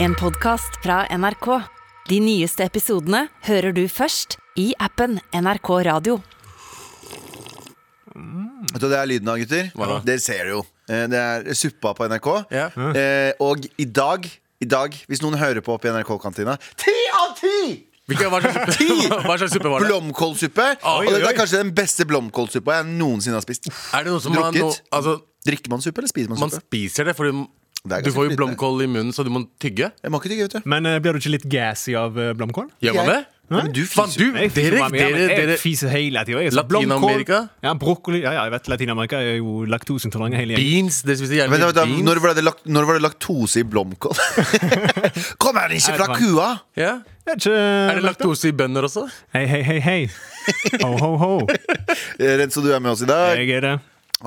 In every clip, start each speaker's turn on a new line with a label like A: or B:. A: En podcast fra NRK. De nyeste episodene hører du først i appen NRK Radio.
B: Vet du hva det er lyden av, gutter?
C: Hva da?
B: Dere ser det jo. Eh, Det er Suppa på NRK.
C: Ja.
D: Mm.
B: Eh, og i dag, i dag, hvis noen hører på opp i NRK-kantina Ti av ti!
C: Hvilken, hva, slags
B: Ti!
C: suppe, hva slags suppe var det?
B: Blomkålsuppe.
C: Oi,
B: Og dette
C: oi,
B: er
C: oi.
B: kanskje den beste blomkålsuppa jeg noensinne har spist.
C: Er det noe som man,
B: Drukket.
C: nå- altså,
B: Drikker man suppe, eller spiser man
C: man
B: suppe?
C: spiser det, for du,
B: Det er
C: du
B: ganske
C: får
B: lite.
C: jo blomkål i munnen, så du må tygge.
B: Jeg må ikke tygge, vet du.
D: Men eh, blir du ikke litt gassy av eh, blomkål?
C: Gjør man det?
B: Jeg- Nei, men du
C: Faen,
B: fiser.
C: du,
D: Jeg fiser
C: dere,
D: bare mye,
C: dere,
D: men jeg
C: dere
D: fiser hele tida. jeg, så
C: Latinamerika?
D: blomkål- Ja, brokkoli. Ja, ja, jeg vet Latin-Amerika er jo laktoseintolerante hele gjengen.
C: Beans, dere spiser gjerne
B: Vent, da, vent, da.
C: beans.
B: Når, var det lak når var det laktose i blomkål? Kom her, ikke fra
D: Nei, det
B: kua!
C: Ja.
D: Er det ikke eh,
C: Er det laktose i bønner også?
D: Hei, hei, hei, hei. Ho, ho, ho.
B: Eh, Renzo, du er med oss i dag.
D: Jeg er det.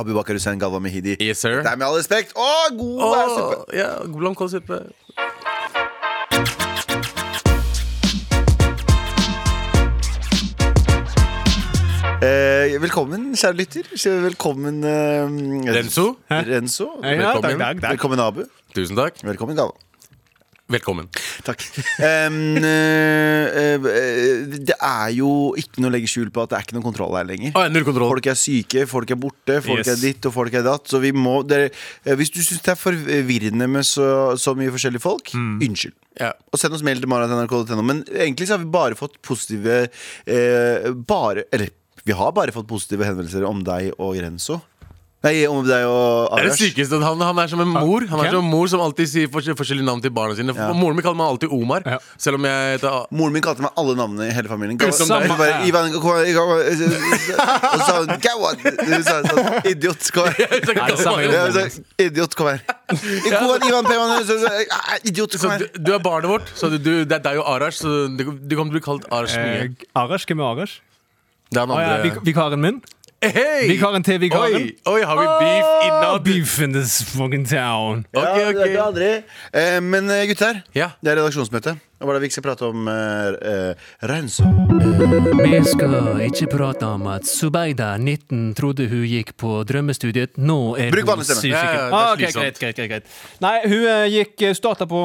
B: Abubakar Hussein Galva Mehidi.
C: Yes, sir.
B: Det er med all respekt. Å, god
C: Åh,
B: er suppe!
C: ja, blomkålsuppe.
B: Eh, velkommen, kjære lytter. Velkommen eh,
C: Renzo?
B: Renzo.
D: Ja, ja,
C: Velkommen.
D: takk, takk, takk.
B: Velkommen, Abu.
C: Tusen takk.
B: Velkommen, Galvan.
C: Velkommen.
B: Takk. Em, eh, eh, det er jo ikke noe å legge skjul på at det er ikke noe kontroll her lenger.
C: Å, ja, null kontroll.
B: Folk er syke, folk er borte, folk
D: Yes.
B: er ditt og folk er datt. Så vi må dere, eh, Hvis du syns det er forvirrende med så, så mye forskjellige folk, unnskyld.
C: Ja.
B: Og send oss mail til mara.nrk.no. Men egentlig så har vi bare fått positive eh, Bare Eller vi har bare fått positive henvendelser om deg og Renzo. Nei, om deg og
C: Det er det
B: Arash.
C: sykeste. at Han, han er som en mor Han er
D: Hvem?
C: som en mor som alltid sier forskjell- forskjellige navn til barna sine.
B: Ja.
C: Moren min kaller meg alltid Omar,
D: Ja.
C: selv om jeg heter A-
B: Moren min kalte meg alle navnene i hele familien.
C: Utenom
B: Gawa-
C: deg.
B: Hun bare, Ivan, kom, her, kom, her. Og så sa hun Gawa! Hun sa sånn Idiot, kom her.
C: Så jeg
D: Nei, det er
C: kaller
D: samme
C: meg-
B: Ja, hun sa, Idiot, kom her. Ivan, Ivan, Pevan, så- så- "Ah, Idiot,
C: Så
B: kom her.
C: du, du er barnet vårt, så du, du, det er deg og Arash. Så du, du kommer til å bli kalt Arash mye.
D: Eh, Arash, hvem er Arash?
C: Det er han
D: Å, ja,
C: andre.
D: vik vikaren min?
C: Hei!
D: Vikaren til vikaren?
C: Oi, oi, har vi beef
D: Ah,
C: innad?
D: beef in this fucking town.
C: Ok,
B: Ja, det er ikke
C: ok.
B: andre. Eh, Men eh, gutter,
C: Ja.
B: det er redaksjonsmøte. Og hva er det vi ikke skal prate om? eh, eh, Renzo.
E: Vi skal ikke prate om at Subaida, 19, trodde hun gikk på drømmestudiet. Nå er
B: Bruk
E: hun
B: vanlig
E: syk.
B: stemme.
C: Ja, ja, det er
D: Ah, ok,
C: slitsomt.
D: greit, greit, greit, greit. Nei, hun eh, gikk starta på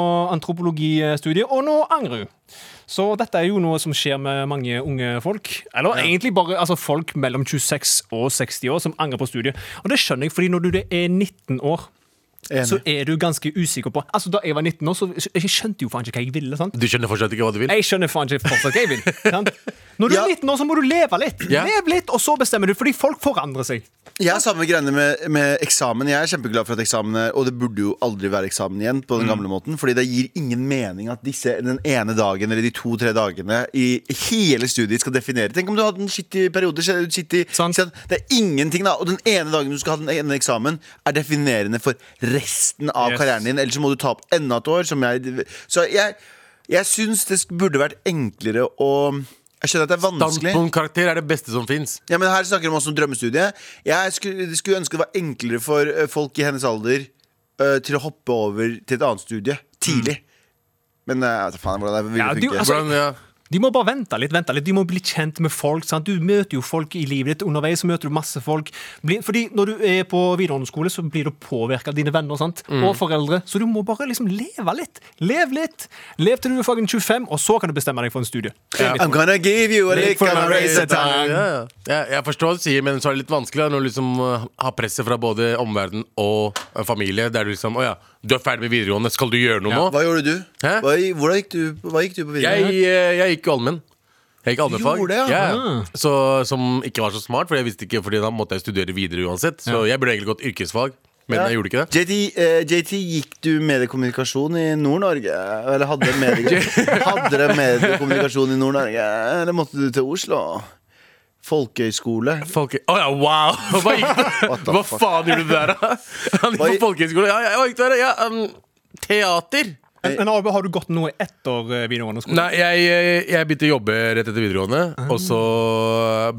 D: antropologistudiet, og nå angrer hun. Så dette er jo noe som skjer med mange unge folk. Eller egentlig bare altså, folk mellom 26 og 60 år som angrer på studiet. Og det skjønner jeg, fordi når du er 19 år så
B: Enig.
D: er du ganske usikker på Altså Da jeg var 19 år, så jeg skjønte jo faen ikke hva jeg ville. sant?
C: Du skjønner fortsatt ikke hva du vil?
D: Jeg skjønner faen ikke fortsatt hva jeg vil. sant? Når du
B: Ja.
D: er 19 år, så må du leve litt.
C: Ja.
D: Lev litt, Og så bestemmer du, fordi folk forandrer seg.
B: Jeg har samme greiene med, med eksamen. Jeg er kjempeglad for at eksamen er Og det burde jo aldri være eksamen igjen, på
D: Mm.
B: den gamle måten. Fordi det gir ingen mening at disse den ene dagen eller de to-tre dagene i hele studiet skal definere. Tenk om du hadde en skittig periode. skje- Skittig,
D: Sant.
B: skjedd. Det er ingenting, da. Og den ene dagen du skal ha den ene eksamen, er definerende for resten av
D: Yes.
B: karrieren din. Ellers så må du ta opp enda et år. Som jeg, så jeg, jeg syns det burde vært enklere å Jeg skjønner at det er vanskelig.
C: Standpunktkarakter er det beste som fins.
B: Ja, men Her snakker de også om drømmestudie. Jeg skulle, skulle ønske det var enklere for eh, folk i hennes alder eh, til å hoppe over til et annet studie tidlig. Mm. Men eh, jeg vet da faen hvordan det vil
D: Ja, du,
B: funke.
D: altså-
C: Hvordan, ja.
D: De må bare vente litt, vente litt. De må bli kjent med folk. Sant? Du møter jo folk i livet ditt underveis. Så møter du masse folk. Bli- Fordi når du er på videregående skole, så blir du påvirka av dine venner sant?
C: Mm.
D: og foreldre. Så du må bare liksom leve litt. Lev litt. Lev til du er fucking 25, og så kan du bestemme deg for en studie.
C: Eh.
D: Det er litt-
B: I'm gonna give you a lick and a razor tongue.
C: Ja, ja. Jeg, jeg forstår hva du sier, men så er det litt vanskelig da, når du liksom uh, har presset fra både omverden og uh, familie. Der du liksom Å ja, du er ferdig med videregående, skal du gjøre noe nå?
B: Hva gjorde du?
C: Hæ?
B: Hva, hvordan gikk du, hva gikk du på
C: Jeg,
B: videregående?
C: uh, jeg gikk allmenn. Jeg gikk allmennfag.
B: gjorde det, ja.
C: Så, som ikke var så smart, for jeg visste ikke, Fordi da måtte jeg studere videre uansett. Så jeg burde egentlig gått yrkesfag, men
B: Ja.
C: jeg gjorde ikke det.
B: JT, eh, JT, gikk du mediekommunikasjon i Nord-Norge? Eller hadde dere medie- hadde dere mediekommunikasjon i Nord-Norge? Eller måtte du til Oslo? Folkehøyskole?
C: Folke... Å ja, wow! Hva,
B: What
C: gikk,
B: the
C: hva
B: fuck?
C: faen gjorde du der, da? Han gikk
B: Hva
C: på
B: i-
C: folkehøyskole. Ja, ja, hva gikk du der? Ja, um, teater.
D: Men, men Arbe, har du gått noe etter eh, videregående skole?
C: Nei, jeg, eh, jeg begynte å jobbe rett etter videregående. Og så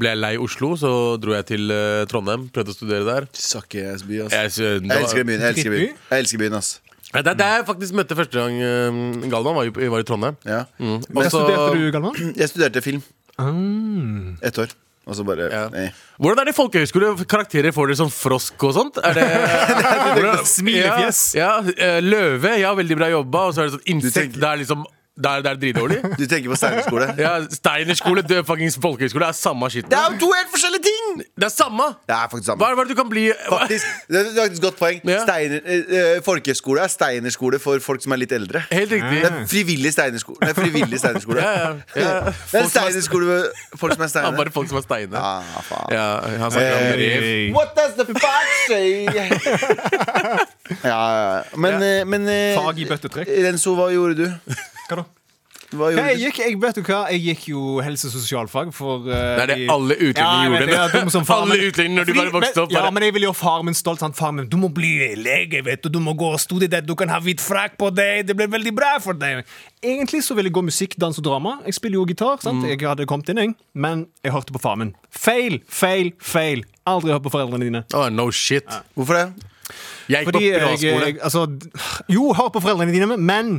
C: ble jeg lei Oslo, så dro jeg til eh, Trondheim. Prøvde å studere der.
B: Sucky ass by, ass.
C: Jeg, sy- det
B: Jeg
C: var-
B: elsker byen. Jeg elsker byen, jeg elsker byen ass.
C: Ja, Det er der jeg faktisk møtte første gang eh, Galvan, var, jo- var i Trondheim.
B: Ja.
C: Mm.
D: Hva
C: Og så- Mm.
D: studerte du, Galvan?
B: Jeg studerte film. Ett år. Og så bare
C: Ja.
B: nei.
C: Hvordan er det i folkehøyskole? Karakterer får dere som frosk og sånt? Er det, Hvordan-
D: Smilefjes.
C: Ja, ja, eh, løve. Ja, veldig bra jobba. Og så er det sånn insekt.
B: tenker-
C: Det er liksom Det er, det er dritdårlig.
B: Du tenker på steinerskole?
C: Ja, Steinerskole, død fuckings folkehøyskole er samme skitten.
B: Det er jo to helt forskjellige ting!
C: Det er samme!
B: Det er faktisk
C: Hva
B: samme.
C: er det du kan bli?
B: Faktisk, det er faktisk et godt poeng.
C: Ja.
B: Steiner, eh, eh, folkehøyskole er steinerskole for folk som er litt eldre.
C: Helt riktig.
B: Det er frivillig steinerskole. Det er frivillig steinerskole.
C: Ja, ja, ja.
B: Det er
C: Folk som er-
B: steinerskole med folk som er
C: Ja, bare
B: steinere.
C: folk som er steine.
B: Ah, faen.
C: Ja, han snakker
B: Eh,
C: om rev.
B: What does the fuck say? ja, ja. Men, eh, men eh,
D: Fag i bøttetrekk.
B: Renzo, hva gjorde du?
D: Hva da?
B: Hva gjorde
D: Jeg
B: du?
D: gikk, jeg, vet du hva? jeg gikk jo helse- og sosialfag for uh,
C: Det er det alle utlendinger gjorde. Alle utlendinger når de bare vokste opp.
D: Ja,
C: Bare.
D: men jeg ville gjøre far min stolt. Sant? Far min, du må bli lege, vet du. Du må gå og studere det. Du kan ha hvit frakk på deg. Det blir veldig bra for deg. Egentlig så ville jeg gå musikk, dans og drama. Jeg spiller jo gitar. sant?
C: Mm.
D: Jeg hadde kommet inn, jeg. Men jeg hørte på far min. Feil, feil, feil. Aldri hør på foreldrene dine.
C: Å, no shit.
B: Hvorfor det?
C: Jeg gikk på
D: Fordi jeg,
C: privatskole.
D: jeg, altså, jo, hør på foreldrene dine, men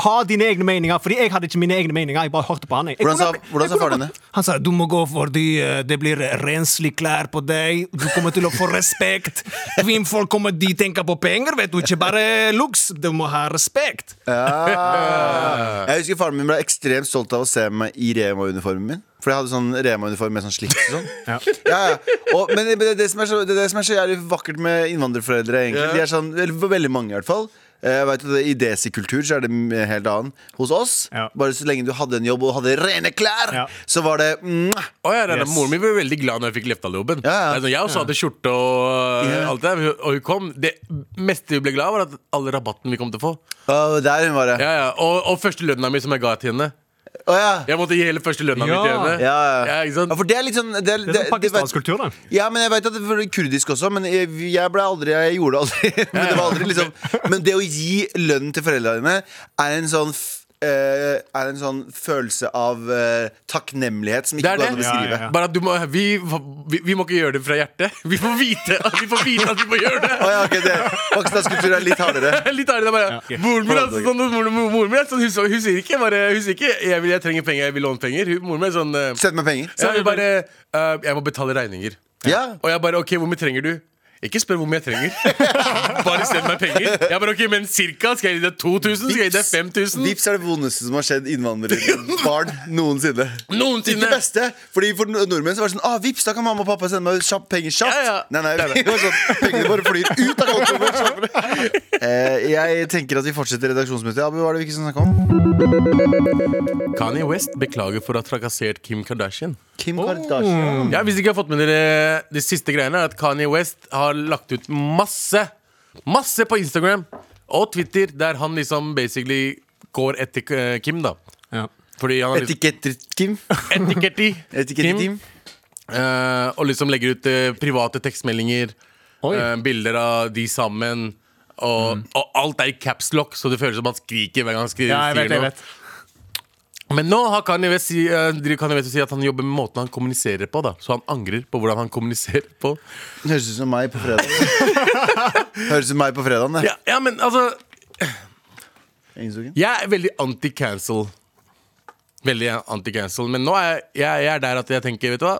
D: ha dine egne meninger. Fordi jeg hadde ikke mine egne meninger. Jeg bare hørte på han. Jeg. Jeg
B: Hvordan sa-
D: kunne-
B: hvordan
D: jeg
B: sa
D: kunne
B: faren
D: gått-
B: din?
D: Han sa du må gå fordi eh, det blir renslig klær på deg. Du kommer til å få respekt. Kvinnfolk kommer, de tenker på penger, vet du. Ikke bare looks. Du må ha respekt.
B: Ah. Jeg husker faren min ble ekstremt stolt av å se meg i Rema-uniformen min. For jeg hadde sånn Rema-uniform med sånn slips og sånn. ja. Ja, Og, men det, det, som er så, det, det som er så jævlig vakkert med innvandrerforeldre, egentlig De er sånn, vel- for Veldig mange, i hvert fall. Eh, Jeg vet at det, I desikultur så er det m- helt annen. Hos oss,
D: Ja.
B: bare så lenge du hadde en jobb og hadde rene klær,
D: Ja.
B: så var det mm, mwah,
C: Å, ja, nei, nei,
D: Yes.
C: Moren min ble veldig glad når jeg fikk Lefdal-jobben.
B: Ja, ja.
C: Altså, Jeg også hadde skjorte og øh,
B: Ja.
C: alt det der. Og hun kom. Det meste hun ble glad av, var at alle rabatten vi kom til å få.
B: Å, Der hun var det.
C: Ja, ja. Og, og første lønna mi som jeg ga til henne.
B: Å, ja.
C: Jeg måtte gi hele første lønna mi
D: Ja.
C: til henne.
B: Ja, ja.
C: Ja, ikke sant?
B: Ja, for det er litt sånn Det er,
D: Det er sånn
B: det- det-
D: pakistansk kultur, da.
B: Ja, men jeg vet at det er kurdisk også, men jeg, jeg ble aldri Jeg gjorde det aldri. Men det, var aldri liksom, men det å gi lønn til foreldrene dine er en sånn f- eh, er en sånn følelse av eh, takknemlighet som
C: Det
B: ikke
C: er
B: går
C: det.
B: an å
D: Ja,
B: beskrive.
D: ja, ja.
C: Bare at du må, vi, vi, vi må ikke gjøre det fra hjertet. Vi får vite at vi, får vite at vi må gjøre det.
B: Å ja, ok, det Pakistansk kultur er litt hardere.
C: Litt ærlig, det er bare
D: ok.
C: Moren min altså, sånn, moren, moren, moren min er sånn hun, så- hun sier ikke bare Hun sier ikke jeg, vil, 'jeg trenger penger, jeg vil låne penger'. Hun, moren min er sånn eh,
B: Send meg penger.
C: Så jeg vil bare eh, Jeg må betale regninger.
B: Ja.
C: Og jeg bare OK, hvor mye trenger du? Ikke spør hvor mye jeg trenger. bare send meg penger. Jeg bare, ok, Men cirka? Skal jeg gi deg 2000? Skal jeg gi deg 5000?
B: Vips er det vondeste som har skjedd innvandrerbarn noensinne.
C: Noensinne.
B: Ikke det beste, fordi For nordmenn så var det sånn ah, Vips, da kan mamma og pappa sende meg kjapt penger kjapt.
C: Ja, ja.
B: Nei, nei, det var sånn, pengene bare flyr ut av kontoen vår kjappere. Eh, jeg tenker at vi fortsetter redaksjonsmøtet. Abu, hva er det vi ikke skal snakke om?
C: Kanye West beklager for å ha trakassert Kim Kardashian.
B: Kim Kardashian.
C: Ja, Hvis dere ikke har fått med dere de siste greiene, er at Kanye West har lagt ut masse Masse på Instagram og Twitter, der han liksom basically går etter eh, Kim, da. Fordi han har liksom
B: Etiketter-Kim.
C: etiketti
B: Etiketter-Kim.
C: Eh, og liksom legger ut eh, private tekstmeldinger, eh, bilder av de sammen. Og, og alt er i caps lock, så det føles som han skriker hver gang han skriver, sier noe. Men nå har Kanye West si, eh, driver Kanye West og sier at han jobber med måten han kommuniserer på. da Så han angrer på hvordan han kommuniserer på.
B: Høres ut som meg på fredag. Høres ut som meg på fredagen, det.
C: Ja, ja men altså
B: Engelskboken.
C: Jeg er veldig anti-cancel. Veldig anti-cancel. Men nå er jeg, jeg, jeg er der at jeg tenker, vet du hva?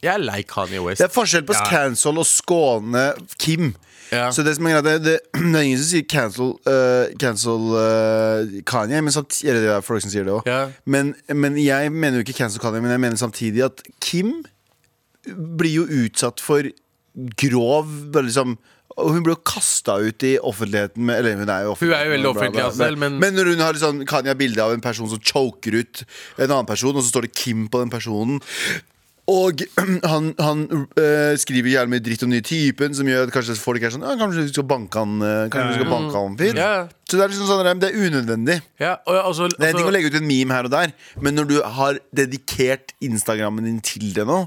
C: Jeg er lei Kanye West.
B: Det er forskjell på cancel og skåne Kim.
C: Ja.
B: Så Det som er greit, det, det, det er ingen som sier cancel, øh, cancel øh, Kanye, men samtidig, eller det er folk som sier det også.
C: Ja.
B: Men, men jeg mener jo ikke cancel Kanye, men jeg mener samtidig at Kim blir jo utsatt for grov bare liksom, og Hun blir jo kasta ut i offentligheten. Med, eller hun er jo offentlig,
C: Hun er jo veldig offentlig, altså, selv, men-
B: men når hun har liksom, Kanye har bilde av en person som choker ut en annen person, og så står det Kim på den personen. Og han, han øh, skriver jævlig mye dritt om nye typen, som gjør at kanskje folk er sånn «Ja, Kanskje vi skal banke han øh, Kanskje vi
D: Mm.
B: skal banke han fyr.
C: Ja.
B: Så det er liksom sånn rem, det er unødvendig.
C: Ja, og, altså, og så-
B: Det er en ting
C: og
D: Altså-
B: å
C: så-
B: legge ut en meme her og der, men når du har dedikert Instagrammen din til det nå,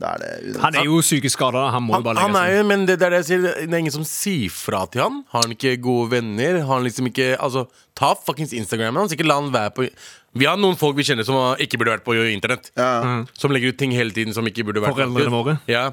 B: da er det unødvendig.
D: Mm. Han er jo psykisk skada. Han må jo
C: han,
D: bare
C: han
D: legge
C: er
D: seg.
C: jo, men det, det er det jeg sier Det er ingen som sier fra til han Har han ikke gode venner Har han liksom ikke Altså, ta fuckings Instagramen hans Ikke la han være på Vi har noen folk vi kjenner som uh, ikke burde vært på internett
D: Mm.
B: Ja.
C: Som legger ut ting hele tiden som ikke burde vært
D: Foreldrene
C: lagt ut.
D: våre.
C: Ja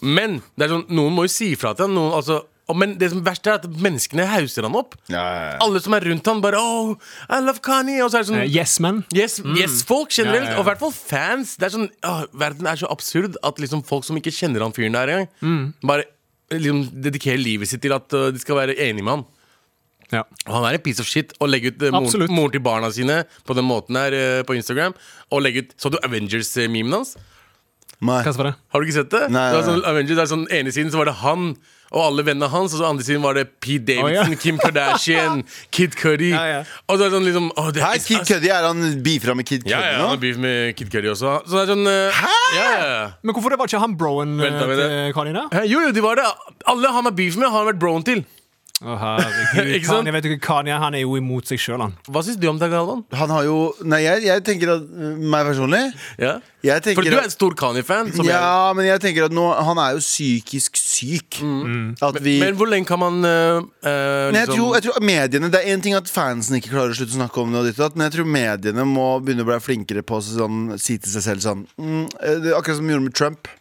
C: Men, det er sånn Noen må jo si fra til han Noen, altså Og- Men det som verste er at menneskene hauser han opp.
B: Ja, ja, ja.
C: Alle som er rundt han bare Oh, I love Kanye. Og så er det sånn
D: Eh, Yes, man.
C: Yes, yes, folk generelt,
D: Ja, ja, ja.
C: og i hvert fall fans. Det er sånn, åh, verden er så absurd at liksom folk som ikke kjenner han fyren der engang,
D: Mm.
C: bare liksom dedikerer livet sitt til at øh, de skal være enige med han.
D: Ja.
C: Og han er en piece of shit å legge ut uh,
D: Absolutt.
C: moren mor til barna sine på den måten her øh, på Instagram. Og legge ut, Så du Avengers-memen hans?
B: Nei.
D: Hva var det?
C: Har du ikke sett det?
B: Nei,
C: det var
B: nei,
C: sånn, Avengers, det er sånn ene siden så var det han og alle vennene hans, og så andre siden var det Pete
D: Å, ja.
C: Davidson, Kim Kardashian, Kid Cudi.
D: Ja, ja.
C: Og så er det sånn liksom åh, det
B: Hæ,
C: is-
B: Kid
D: Altså-
B: Cudi, er han beefer med Kid Cudi
C: Ja, ja, han har
B: nå?
C: beef med Kid Cudi også. Så det er sånn Hæ?! Ja, ja.
D: Men hvorfor det var ikke han broen eh,
C: Vent da, vent da.
D: til Kanye der?
C: Hæ, Jo, jo, de var det. Alle han har beef med, har han vært broen til.
D: Å, herregud.
C: Ikke sant?
D: Kanye, vet du, ikke, Kanye han er jo imot seg sjøl, han.
C: Hva syns du om det, Galvan?
B: Han har jo Nei, jeg, jeg tenker at eh, Meg personlig?
C: Ja.
B: Jeg tenker
C: For du er
B: at-
C: en stor Kanye-fan. som jeg-
B: Ja, men jeg tenker at nå Han er jo psykisk syk.
C: Mm.
B: At vi
C: Men hvor lenge kan man øh, øh,
B: Nei, jeg,
C: liksom-
B: tror, jeg tror mediene Det er én ting at fansen ikke klarer å slutte å snakke om det, og ditt og datt, men jeg tror mediene må begynne å bli flinkere på å sånn, si til seg selv sånn mm, det er Akkurat som de gjorde med Trump.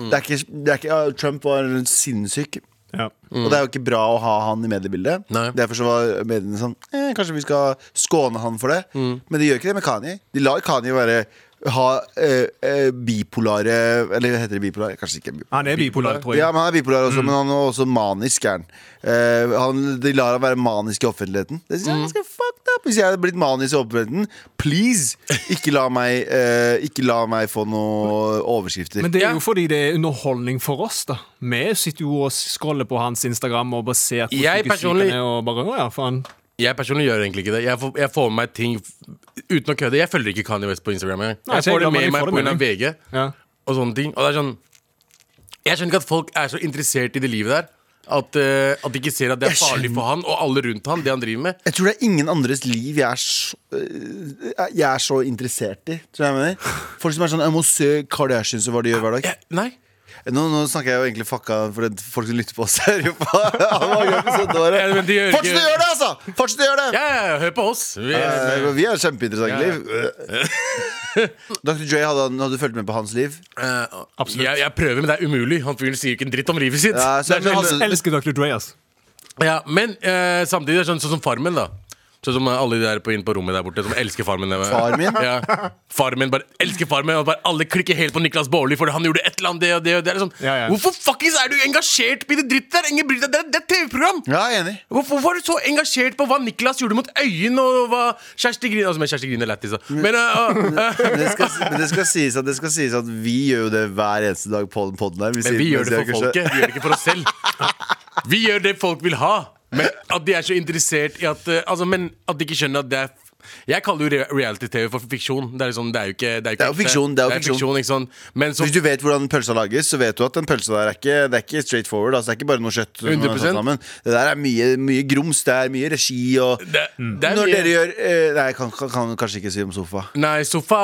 C: Mm.
B: Det er ikke, det er ikke, ja, Trump var sinnssyk,
D: Ja.
B: og det er jo ikke bra å ha han i mediebildet.
C: Nei.
B: Derfor så var mediene sånn eh, Kanskje vi skal skåne han for det. Men de gjør ikke det med Kanye. De lar Kanye være ha eh, eh, bipolare Eller heter det bipolare? Kanskje ikke. Bipolare.
D: Han er bipolar, tror
B: Ja,
D: jeg.
B: men Han er bipolar også, men han er også manisk. Er han. Eh, han, de lar ham være manisk i offentligheten. Det synes jeg er ganske fucked up Hvis jeg hadde blitt manisk i offentligheten, please! Ikke la meg, eh, ikke la meg få noen overskrifter.
D: Men det er
C: Ja.
D: jo fordi det er underholdning for oss, da. Vi sitter jo og scroller på hans Instagram og bare ser hvor
C: Jeg
D: syk han
C: personlig-
D: er, og bare Å ja, faen.
C: Jeg personlig gjør egentlig ikke det. Jeg får, jeg får med meg ting f- uten å kødde. Jeg følger ikke Kanye West på Instagram. Jeg,
D: Nei,
C: jeg
D: så jeg
C: får det
D: glad man
C: med
D: ikke
C: meg
D: får det med
C: pga. VG
D: Ja.
C: og sånne ting. Og det er sånn Jeg skjønner ikke at folk er så interessert i det livet der. At, eh, at de ikke ser at det er
B: Jeg
C: farlig for han og alle rundt han, det han driver med.
B: Jeg tror det er ingen andres liv jeg er så, eh, jeg er så interessert i. Tror jeg jeg mener. Folk som er sånn Jeg må se Kardashians og hva de gjør hver dag.
C: Jeg, nei
B: Nå, nå snakker jeg jo egentlig fucka, for det, folk som lytter på oss, hører jo på. Fortsett å
C: Ja, men de gjør ikke-
B: gjøre det, altså! Fortsett å gjøre det!
C: Ja, ja, ja, hør på oss! Vi,
B: Eh, Vi er kjempeinteressante liv. Dr. Dre, hadde, han- hadde du fulgt med på hans liv?
C: Eh,
D: Absolutt.
C: Jeg, jeg prøver, men det er umulig. Han fyren sier ikke en dritt om livet sitt.
B: Ja, så-
C: Det er sånn-
B: Men-
D: Elsker Dr. Dre, altså. ass.
C: ja, men eh, samtidig er det sånn, sånn som Farmen, da. Sånn som alle de der på, inn på rommet der borte som elsker Farmen.
B: Farmen?
C: Ja. Farmen, bare elsker Farmen og bare Alle klikker helt på Niklas Baarli fordi han gjorde et eller annet det og det. og det, Det er sånn,
D: Ja, ja.
C: Hvorfor fuckings er du engasjert i det drittet der? Ingen bryr seg. Det er- Det er et TV-program!
B: Ja, jeg er enig.
C: Hvorfor hvorfor er du så engasjert på hva Niklas gjorde mot Øyen og hva Kjersti Grine Altså, men Kjersti Grine er lættis, da. Men eh, eh,
B: Men det, skal, men det, skal sies at, det skal sies at vi gjør jo det hver eneste dag på den podden her.
C: Men
B: sier-
C: vi gjør det
B: sier
C: for
B: kanskje-
C: folket, vi gjør det ikke for oss selv. Vi gjør det folk vil ha. Men at de er så interessert i at eh, altså, Men at de ikke skjønner at det er jeg kaller jo re- reality-TV for fiksjon. Det er, liksom, det er jo ikke Det er,
B: Det
C: ikke
B: er jo
C: ekte.
B: fiksjon, det er jo fiksjon.
C: ikke sant? Men så
B: Hvis du vet hvordan pølsa lages, så vet du at den pølsa der er ikke, det er ikke straight forward. Altså, det er ikke bare noe kjøtt. som er satt
C: 100%.
B: sammen. Det der er mye, mye grums, det er mye regi og
C: det, det er
B: Når
C: mye-
B: dere gjør eh, Nei, jeg kan, kan, kan kanskje ikke si om sofa.
C: Nei, sofa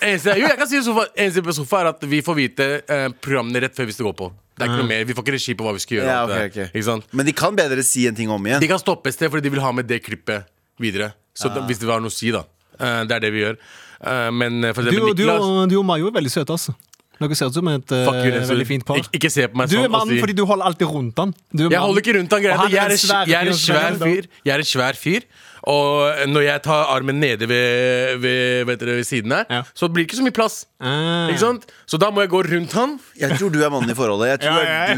C: eneste, Jo, jeg kan si sofa Eneste på sofa er at vi får vite eh, programmene rett før vi skal gå på. Det er ikke noe mer, Vi får ikke regi på hva vi skal
B: Mm.
C: gjøre.
B: Ja,
C: og alt
B: ok,
C: det der.
B: ok.
C: Ikke sant?
B: Men de kan bedre si en ting om igjen.
C: De kan stoppe et sted fordi de vil ha med det klippet videre. Så da, Hvis det var noe å si, da. Eh, det er det vi gjør. Eh, men eh, for
D: Du,
C: eksempel
D: du,
C: Niklas
D: du og Mayo er veldig søte, altså. Dere ser ut som et eh,
C: Fuck you, Renzo.
D: veldig fint par.
C: Ik ikke se på meg
D: Du
C: sånn.
D: er
C: og
D: mannen
C: si-
D: fordi du holder alltid rundt han. Du er
C: jeg
D: mannen.
C: holder ikke rundt han
D: Og
C: greia.
D: han
C: Jeg, er
D: den
C: en sv- jeg er en svær
D: fyren som
C: fyr. Jeg er en svær fyr. Og eh, når jeg tar armen nede ved, ved, vet dere, ved siden her,
D: Ja.
C: så blir det ikke så mye plass.
D: Ah.
C: Ikke sant? Så da må jeg gå rundt han.
B: Jeg tror du er mannen i forholdet. Jeg tror
D: Ja, ja,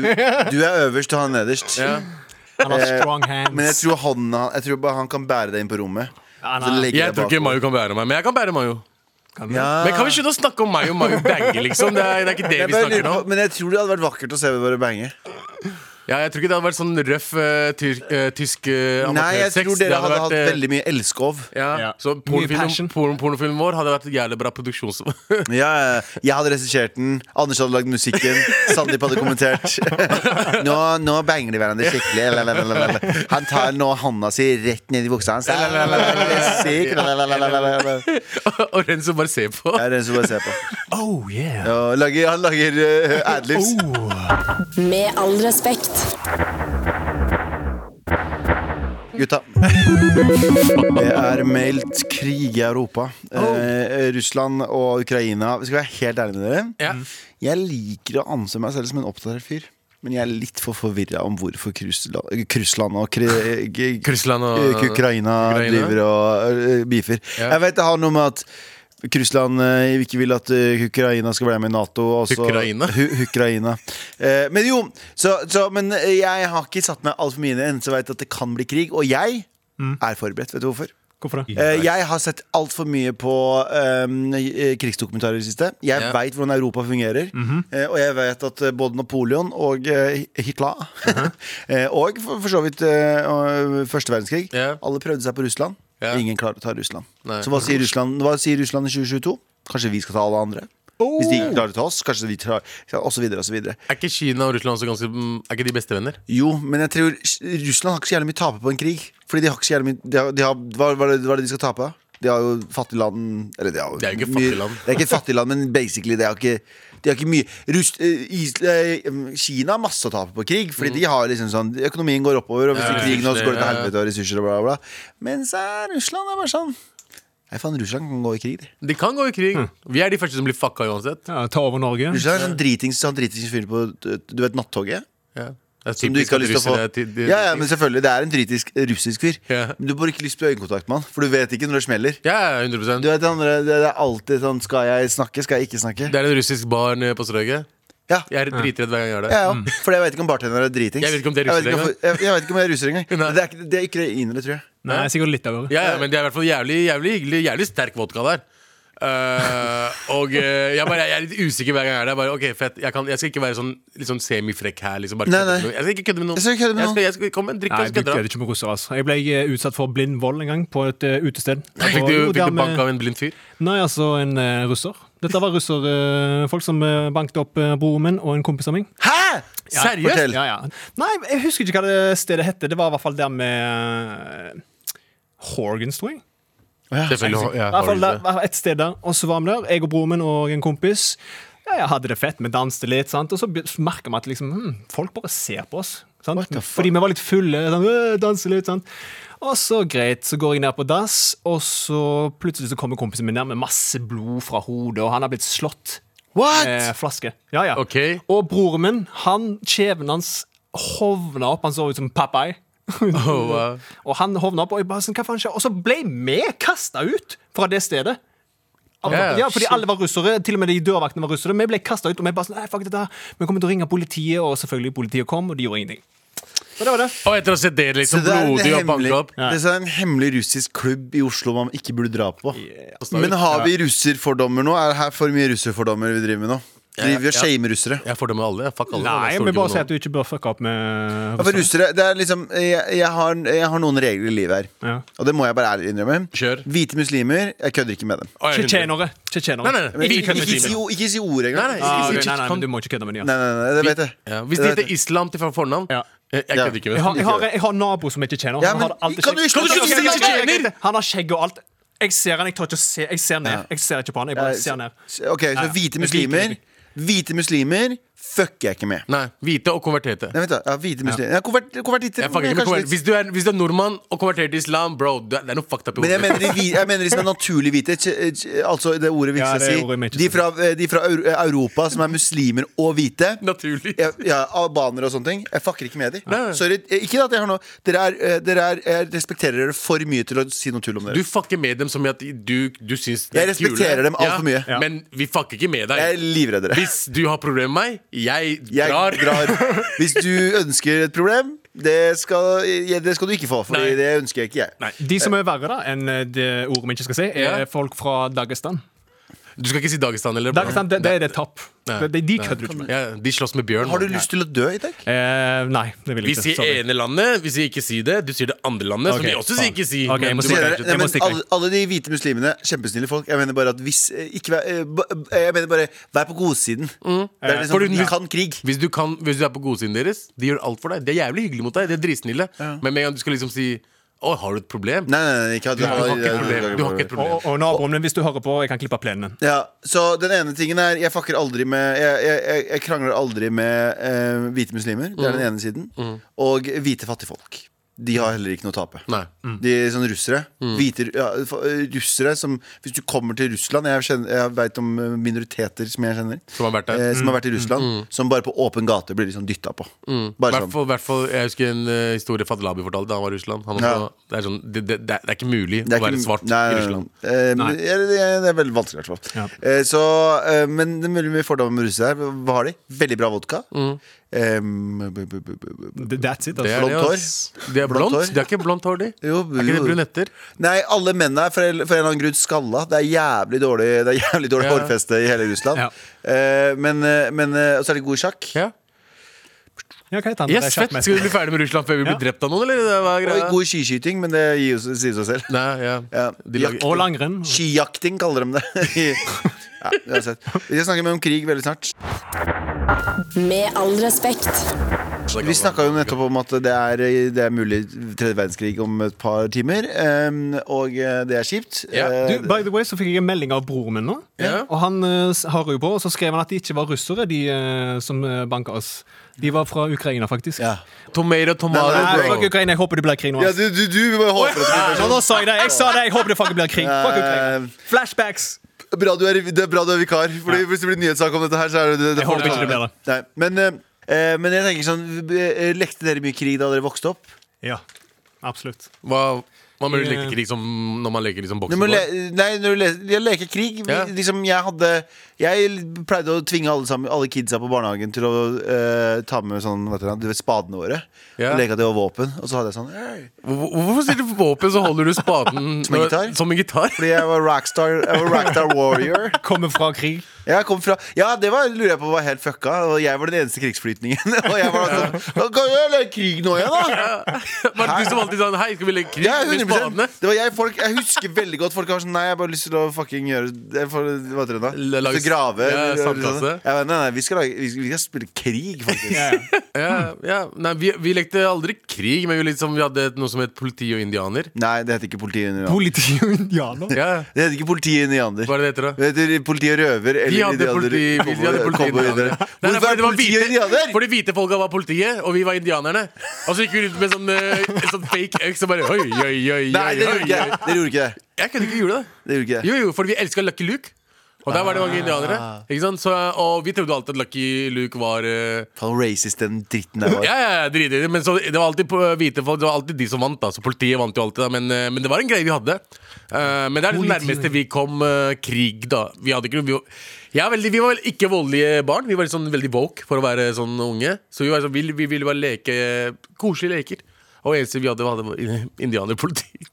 B: Du, du er øverst og han nederst. Eh,
D: Han har
C: Eh,
D: strong
B: Men jeg
D: hands.
B: tror, han, jeg tror bare han kan bære deg inn på rommet.
D: Ja,
B: Så
D: nei.
B: legger deg
C: Jeg tror ikke
B: bakover.
C: Mayo kan bære meg, men jeg kan bære Mayo.
B: ja.
C: Men kan vi slutte å snakke om Mayo Mayo banger, liksom? Det er, det er ikke det
B: jeg
C: vi
B: bare
C: snakker
B: lurer på-
C: om.
B: Men jeg tror det hadde vært vakkert å se deg bare bange.
C: Ja, jeg tror ikke det hadde vært sånn røff eh, tyr, eh, tysk eh,
B: Nei, jeg
C: amatørsex.
B: tror dere hadde, hatt
C: eh,
B: veldig mye elskov.
C: ja.
D: Ja.
C: Så
D: Mye
C: pornofilmen
D: passion.
C: porno, pornofilmen vår hadde vært jævlig bra produksjons...
B: Ja, ja. jeg hadde regissert den, Anders hadde lagd musikken, Sandeep hadde kommentert. Nå, nå banger de hverandre skikkelig. Lalalala. Han tar nå hånda si rett ned i buksa hans. Lalalala. Syk. Lalalala. Det
C: og Renzo bare ser på.
B: er det som bare ser på.
D: Oh, yeah.
B: Ja, lager, han lager uh, adlibs.
F: Med all respekt.
B: Gutta. Det er meldt krig i Europa. Eh, Russland
D: Mm.
B: og Ukraina. Vi skal være helt ærlige med dere.
C: Ja.
B: Jeg liker å anse meg selv som en oppdatert fyr. Men jeg er litt for forvirra om hvorfor Krusla- Krusland og Kri- G-
C: Krusland og
B: Eh, Ukraina
C: Ukraina.
B: driver og eh, beefer.
C: Ja.
B: Jeg vet det har noe med at Russland eh, ikke vil at eh, Ukraina skal være med i Nato. og så-
C: Ukraina?
B: Hu- Ukraina. Eh, men jo, så, så, men jeg har ikke satt meg altfor mye inn i det, så jeg vet at det kan bli krig. Og jeg
C: Mm.
B: er forberedt. Vet du hvorfor?
D: Hvorfor det?
B: Eh, jeg har sett altfor mye på ehm, eh, krigsdokumentarer i det siste. Jeg
C: Ja. Mhm.
B: vet veit hvordan Europa fungerer. eh, og jeg vet at eh, både Napoleon og eh, Hitler
C: Mhm.
B: eh, Og for, for så vidt eh, og, første verdenskrig.
C: Ja.
B: Alle prøvde seg på Russland.
C: Ja.
B: Ingen klarer å ta Russland.
C: Nei.
B: Så hva sier Russland, hva sier Russland i 2022? Kanskje vi skal ta alle andre? Hvis de
C: Oh.
B: ikke klarer å ta oss, kanskje vi tar Og så videre og så videre.
C: Er ikke Kina og Russland også ganske mm, Er ikke de bestevenner?
B: Jo, men jeg tror Russland har ikke så jævlig mye å tape på en krig. Fordi de har ikke så jævlig mye de har, de har, hva, hva, er det, hva er det de skal tape? De har jo fattig land Eller de har jo
C: Det er jo ikke et
B: mye-
C: fattig land.
B: Det er ikke et fattig land, men basically de har ikke, de har ikke mye Russ, eh, is, eh, Kina har masse å tape på krig, fordi de har liksom sånn Økonomien går oppover, og hvis
C: Mm. Ja,
B: det er krig nå, så går det til
C: ja, ja.
B: helvete og ressurser og bla, bla, bla. Mens eh, Russland er bare sånn Nei, faen, Russland kan gå i krig, de.
C: De kan gå i krig.
D: Mm.
C: Vi er de første som blir fucka uansett.
D: Ja, ta over Norge.
B: Russland er sånn dritings, sånn dritings fyr på Du vet nattoget?
C: Ja. Det er
B: Som du
C: typisk
B: ikke har
C: at
B: lyst til å
C: russere er
B: få
C: til- de-
B: Ja, ja, men selvfølgelig, det er en dritisk russisk fyr
C: Ja.
B: Men du får ikke lyst på øyekontakt med han For du vet ikke når det smeller
C: ja, ja, 100
B: Du vet det andre, det er alltid sånn Skal jeg snakke, skal jeg ikke snakke
C: Det er en russisk bar nede på Strøget.
B: Ja, ja,
C: Jeg er dritredd hver gang jeg er der.
B: ja For jeg vet ikke om bartender er dritings
C: Mm. Jeg vet ikke om det er
B: Jeg vet ikke
C: russere
B: om- Jeg jeg vet ikke om jeg er russer engang
C: Nei.
B: Men Det er, ikke- det er ukrainere, tror jeg
D: Nei, sikkert litt over.
C: Ja, ja, men det er i hvert fall jævlig, jævlig hyggelig. Jævlig sterk vodka der. Eh, og eh, jeg, bare, jeg er litt usikker hver gang jeg er der. Bare, ok, fett, jeg, kan, jeg skal ikke være sånn litt sånn semifrekk her. Liksom, bare
B: Nei,
C: kødde
B: nei.
C: med noen. Jeg skal ikke kødde med noen.
B: Jeg skal ikke kødde med
C: Jeg skal, jeg skal, kom, drikk, og
D: Nei, du
C: så kødder
D: kødder
C: han.
D: ikke med russere, altså. Jeg ble eh, utsatt for blind vold en gang på et eh, utested.
C: Fikk
D: Og
C: du,
D: jo,
C: fikk
D: der
C: du
D: med-
C: bank av en blind fyr?
D: Nei, altså en eh, russer. Dette var russerfolk som eh, banket opp eh, broren min og en kompis av meg.
B: Hæ?
C: Seriøst?
B: Fortell
D: Ja, ja. Nei, jeg husker ikke hva det stedet hette. Det var i hvert fall der med eh, Horgans, tror jeg.
C: Selvfølgelig. Ja,
D: I hvert fall
C: har
D: der,
C: du det.
D: var et sted der, og så var vi der, jeg og broren min og en kompis. Ja, jeg hadde det fett, vi danste litt, sant? og så be- så merker vi at liksom, hm, folk bare ser på oss. Sant?
B: What the fuck?
D: Fordi vi var litt fulle. Sånn, «Øh, danse litt, sant? Og så greit, så går jeg ned på dass, og så plutselig så kommer kompisen min ned med masse blod fra hodet, og han har blitt slått med
B: What?
D: Eh, flaske. Ja, ja.
C: Ok.
D: Og broren min, han, kjeven hans hovna opp, han så ut som Popeye.
C: Oh, wow.
D: Og han hovna opp, og jeg bare sånn, hva faen skjer? Og så ble vi kasta ut fra det stedet. Av-
C: Ja,
D: ja, fordi
C: shit.
D: alle var russere, til og med de dørvaktene var russere. Vi ble kastet ut, og vi bare sånn, nei, fuck dette, her. vi kommer til å ringe politiet, og selvfølgelig politiet kom, og de gjorde ingenting. Så det var det.
C: Og etter å ha sett det liksom
B: er en
C: blodig og
B: hemmelig-
C: banka opp
B: Det er sånn en hemmelig russisk klubb i Oslo man ikke burde dra på Men har vi russerfordommer nå? Er det her for mye russerfordommer vi driver med nå? Driver vi og
C: ja.
B: shamer russere?
C: Jeg fordømmer alle. jeg. Fuck alle.
D: Nei,
C: Jeg stoler
D: men
C: ikke på
D: bare si
C: noen.
D: at du ikke bør fucke opp med
B: Ja, for russere, det er liksom jeg, jeg, har, jeg har noen regler i livet her.
D: Ja.
B: Og det må jeg bare ærlig innrømme.
C: Kjør.
B: Hvite muslimer, jeg kødder ikke med dem.
C: Å, jeg er hundre.
D: Tsjetsjenere. Tsjetsjenere.
C: Nei, nei, nei.
B: Ikke,
D: Ikke kødd med
B: ikke, si,
D: Kina.
B: o- ikke si ord engang.
C: Nei, nei.
D: Ah,
C: ikke si
D: ok, nei, nei,
C: tsjetsjen-
D: men du må ikke kødde med de. altså.
B: Nei,
D: ja.
B: nei, nei, det vet jeg.
C: Ja, Hvis det
B: Det vet
C: heter islam til fornavn
D: Ja.
C: Jeg, jeg
B: Ja.
C: kødder ikke
D: Jeg har,
C: med det.
D: jeg har, jeg har nabo som er tsjetsjener.
B: Ja,
D: Han
B: men-
D: har alltid
B: kan du
D: skjegg.
B: ikke- kan du ikke
D: Ok,
B: si
D: ok, ok,
C: tsjetsjener?
D: ok, ok. Han har skjegg og alt. Jeg ser han, jeg tør ikke å se. Jeg ser ned. Jeg ser ikke på han, jeg
B: jeg.
D: bare ser ned.
B: S- Ok, så
D: ja.
B: hvite
D: Men
B: muslimer
D: hvite-
B: Hvite muslimer fucker jeg ikke med.
C: Nei, Hvite og konverterte.
B: Nei, vent da, ja, hvite muslimer ja, konvert, Konvertitter.
C: Jeg fucker ikke med
B: kanskje
C: konvert-
B: litt-
C: hvis, du er, hvis du er nordmann og konverterer til islam, bro, du er- det er noe fucked up. i
B: Men jeg
C: hodet.
B: mener, de, hvi- jeg mener de som er naturlig hvite. tj- tj- Altså det ordet vi
D: Ja,
B: skal
D: det ordet vi
B: si. De
D: ikke
B: fra, eh, de fra Eur- Europa som er muslimer og hvite.
C: Naturlig.
B: jeg, ja, albanere og sånne ting. Jeg fucker ikke med
C: Nei, nei.
B: dem. Sorry. Eh, Ikke at jeg har noe Dere er, eh, dere er Jeg respekterer dere for mye til å si noe tull om
C: Du
B: dere.
C: fucker med dem som i at du, du syns de
B: Jeg
C: er kule.
B: respekterer dem alt for mye.
C: Ja. Men vi fucker ikke med
B: Jeg er
C: deg.
B: livredd dere.
C: Hvis du har problemer med meg, jeg
B: Jeg
C: drar.
B: drar. Hvis du ønsker et problem, det skal, ja, det skal du ikke få. For
C: Nei.
B: det ønsker jeg ikke, jeg.
C: Nei,
D: De som er verre da enn eh, det ordet vi ikke skal si, er
C: Ja.
D: folk fra Dagestan.
C: Du skal ikke si Dagestan eller
D: Dagestan, det, det er det tapp.
C: Nei.
D: De, de, de
C: Nei.
D: kødder du ikke med.
C: Ja, de slåss med bjørn.
B: Har du
C: man.
B: lyst til å dø i dag?
D: Eh, nei, det vil
C: Vi
D: jeg ikke.
C: sier
D: sorry.
C: ene landet, vi sier ikke si det. Du sier det andre landet,
D: Ok,
C: som vi også sier
D: faen.
C: ikke si.
D: Ok, jeg
C: men
D: må
C: du
D: si
B: Dere-
D: det.
C: bare-
D: jeg
B: nei,
D: må
B: men
D: stikke.
B: alle, alle de hvite muslimene, kjempesnille folk. Jeg mener bare at hvis eh, ikke, vær- eh, ba- eh, Jeg mener bare vær på godsiden. Det er
C: Mm. Fordi
B: liksom, vi
C: hvis-
B: kan krig.
C: Hvis du, kan, hvis du er på godsiden deres, de gjør alt for deg. De er jævlig hyggelige mot deg. De er dritsnille. Men med en gang du skal liksom si Å, har du et problem?
B: Nei, nei, nei, ikke,
C: Du har ikke et problem. Du har ikke et
D: Og,
C: problem.
D: og naboen min, hvis du hører på, jeg kan klippe av plenen.
B: Ja, så den ene tingen er Jeg fucker aldri med Jeg, jeg, jeg- jeg
C: Mm.
B: krangler aldri med eh, hvite muslimer. Det er den ene siden. Og hvite fattigfolk. de har heller ikke noe å tape.
C: Nei.
B: De er sånne russere.
C: Mm.
B: Hvite, ru- ja, for- eh, russere som Hvis du kommer til Russland Jeg, kjenner, jeg veit om eh, minoriteter som jeg kjenner,
C: Som har vært der. Mm.
B: eh, som har vært i Russland, som bare på åpen gate blir liksom dytta på. Bare sånn.
C: Hvertfall, hvertfall, jeg husker en eh, historie Fadlabi fortalte da han var i Russland. Han
B: Ja.
C: også, det, er sånn, det, det, det er ikke mulig
B: Det er
C: å være
B: ikke-
C: svart
B: nei,
C: i
B: nei,
C: Russland.
B: nei. Eh, men- ja, det, det er veldig vanskelig, i hvert fall.
D: Ja.
B: Eh, så, eh, men det er veldig mye fordommer med russere her. Hva har de? Veldig bra vodka.
C: Mm.
B: Eh, b- b- b- b- b-
D: That's it,
C: Det
D: altså.
C: er
B: Blondt hår?
C: ass. De er
B: Blondt
C: blondt.
B: hår?
C: De har ikke blondt hår, de.
B: Jo,
C: er ikke
B: jo.
C: det brunetter?
B: Nei, alle mennene er for, en- for en eller annen grunn skalla. Det er jævlig dårlig, det er jævlig dårlig
C: Ja.
B: hårfeste i hele Russland.
D: Ja.
B: Eh, men eh, men eh, Og så er de gode i sjakk.
C: Ja.
D: Ja, hva heter han?
C: Yes,
D: Det er
C: fett. Skal vi bli ferdig med Russland før vi blir drept av noen, eller? Det var
B: Og
C: greia.
B: gode i skiskyting, men det gir jo- sier seg selv.
C: Nei, ja.
B: Ja.
C: De lager,
D: Og langrenn.
B: Skijakting kaller de det. ja, uansett. Vi skal snakke mer om krig veldig snart.
F: Med all respekt.
B: Vi snakka jo nettopp om at det er, det er mulig tredje verdenskrig om et par timer. eh, og eh, det er kjipt.
C: Ja,
B: Eh,
D: Du, by the way, så fikk jeg en melding av broren min nå.
C: Ja.
D: Og han eh, har jo på, og så skrev han at de ikke var russere, de eh, som uh, banka oss. De var fra Ukraina, faktisk.
B: ja.
C: Tomato, tomato,
D: Nei,
B: Nei,
D: fuck
C: bro.
D: Ukraina, jeg håper det blir krig nå.
B: ja,
D: ass.
B: du, du, du må håpe at det Eh,
D: Ja, nå sa jeg det! Jeg sa det! Jeg håper det fucking blir krig. Fuck Ukraina. Flashbacks!
B: blir bra du er, Det er bra du er vikar. Fordi Hvis det blir nyhetssak om dette her, så er det, det, det
D: Jeg håper
B: får-
D: ikke det blir det.
B: Nei, men, eh, eh, men jeg tenker sånn eh, Lekte dere mye krig da dere vokste opp?
D: Ja, absolutt.
C: Hva, hva med å
D: Eh.
C: leke krig som, når man leker liksom
B: Når man
C: bokseball?
B: le, nei, når du le, jeg leker krig vi-
C: Ja.
B: liksom, jeg, hadde, jeg pleide å tvinge alle, sammen, alle kidsa på barnehagen til å eh, ta med sånn, vet du, hva, du vet, spadene våre.
C: Ja.
B: Og leke at det var våpen. Og så hadde jeg sånn «Hey!»
C: Hvor- Hvorfor sier du våpen, så holder du spaden
B: Som en gitar?
C: Som en gitar?
B: Fordi jeg var rockstar, jeg var rockstar warrior.
D: Kommer fra krig.
B: Jeg kom fra, ja, det var, lurer jeg på var helt fucka. Og jeg var den eneste krigsflytningen. Og jeg var sånn «Da Kan jeg leke krig nå igjen, da?
C: Var det du som alltid sa 'hei, skal vi leke krig'?
B: Ja,
C: med
B: 100
C: spadene?
B: Det var jeg, folk, jeg husker veldig godt folk har sånn Nei, jeg har bare lyst til å fucking gjøre jeg får, Hva heter det da?
C: L- lage-
B: Lyst til å grave
C: ja,
B: eller- eller
C: sandkasse.
B: sånn. Jeg bare, Nei, nei, vi skal, lage, vi, skal- vi skal spille krig, faktisk
C: Ja, ja. Nei, vi, vi lekte aldri krig, men vi, liksom, vi hadde et- noe som het politi og indianer.
B: Nei, det heter ikke politi og indianer
D: Politi og indianer.
C: Ja,
B: Det heter ikke politi og indianer
C: Hva er det det heter, da?
B: Det heter politi og røver eller
C: De hadde
B: indianer,
C: politi, vi- de hadde
B: cowboy-
C: politi
B: cowboy-
C: indianere. Nei, nei,
B: Hvorfor
C: fordi
B: er
C: det var
B: politi og
C: hvite-
B: indianer?
C: Fordi hvite folka var politiet, og vi var indianerne. Og så gikk vi rundt med sånn, eh, sånn fake øks og bare oi, oi, oi, oi,
B: Nei, det
C: oi,
B: gjorde ikke
C: oi.
B: det Dere gjorde ikke det
C: Jeg kunne ikke gjøre det.
B: Det gjorde ikke det
C: Jo, jo, fordi vi elska Lucky Luke. Og der var det mange
B: Ah.
C: indianere. Ikke sant? Så, og vi trodde alltid at Lucky Luke var eh,
B: Faen, racist den dritten der var
C: Ja, ja, ja, drit i det. Men så, det var alltid på øh, hvite folk Det var alltid de som vant, da. Så politiet vant jo alltid, da. Men, eh, men det var en greie vi hadde. Eh, men det er det nærmeste vi kom eh, krig, da. Vi hadde ikke noe vi, var- ja, veldig, vi var vel ikke voldelige barn. Vi var sånn veldig woke for å være sånn unge. Så vi, var sånn, vi, vi ville bare leke koselige leker. Og eneste vi hadde, var hadde indianerpoliti.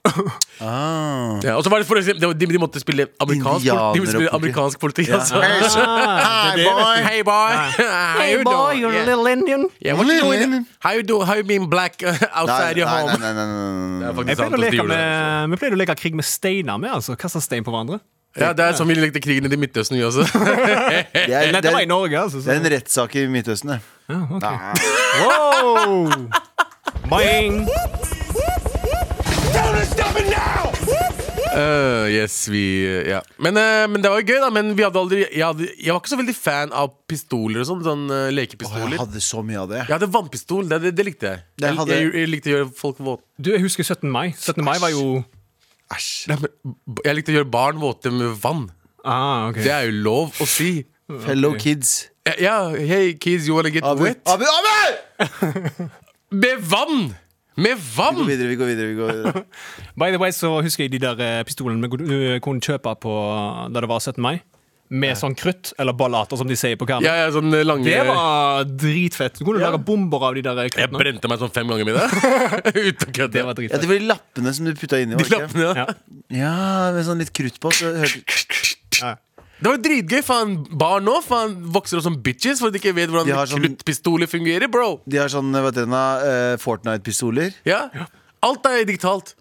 B: ah.
C: Ja, og så var det for eksempel, det var- de, de måtte spille amerikansk, politi- de måtte spille
B: Indianerpoliti.
C: amerikansk politi.
B: Ja.
C: Altså.
D: Ah, det er det, vet du.
C: Hey, boy! How you doing? Yeah.
D: Indian.
C: Yeah, what you
B: Little
C: doing?
B: Indian.
C: How you do? How you being black uh,
B: Nei,
C: outside
B: nei,
C: your
B: nei,
C: home?
B: nei, nei, nei, nei, nei.
C: Faktisk
D: Jeg pleide
C: sant,
D: å
C: de
D: leke
C: gjorde det. altså.
D: med, vi pleide å leke krig med steiner med, altså. Kaste stein på hverandre.
C: Ja, det er som vi lekte krigen i Midtøsten, vi også.
B: Det er, Eh, det
D: Dette var i
B: er,
D: Norge, altså.
B: det er
D: Så.
B: en rettsak i Midtøsten det.
D: Wow! Boing!
C: Øh, yes, vi øh, Ja. Men, øh, men det var jo gøy, da. Men vi hadde aldri jeg, hadde, jeg var ikke så veldig fan av pistoler og sånn. Sånn øh,
B: Jeg
C: lekepistoler.
B: hadde så mye av det
C: Jeg hadde vannpistol. Det, det, det likte jeg.
B: Det
C: Jeg,
B: hadde-
C: jeg, jeg likte å gjøre folk våte.
D: Du, jeg husker 17. mai. 17. mai var jo
B: Æsj
C: Nei, men b- Jeg likte å gjøre barn våte med vann.
D: Ah, ok.
C: Det er jo lov å si.
B: Fellow kids
C: Ja, Ja, hey kids, you wanna get
B: Abu,
C: wet?
B: Abu, Abu!
C: Med vann! Med
B: Vi går
C: vann!
B: videre, vi går videre, vi går videre.
D: By the way, så husker jeg de der eh, pistolene vi kunne- kunne kjøpe på da det var 17. mai. Med sånn krutt, eller ballater, som de sier på
C: Ja,
D: kamera.
C: ja, sånn øh, lange
D: Det var dritfett. Du kunne lage bomber av de der eh,
C: Jeg
D: kruttene.
C: brente meg sånn fem ganger med det. Uten å
D: Det
C: kødde.
D: var
B: Ja,
D: dritfett.
B: det var de lappene som du putta inni. var det
C: De
B: ikke?
C: lappene, ja.
D: Ja.
B: Ja, med sånn litt krutt på. Så hørte,
C: Det var jo dritgøy. Faen, barn nå faen, vokser opp som bitches fordi de ikke vet hvordan
B: De har sånn-
C: kluttpistoler fungerer, bro.
B: de har sånn hva heter det, da, eh, Fortnite-pistoler.
C: Ja. Alt er digitalt.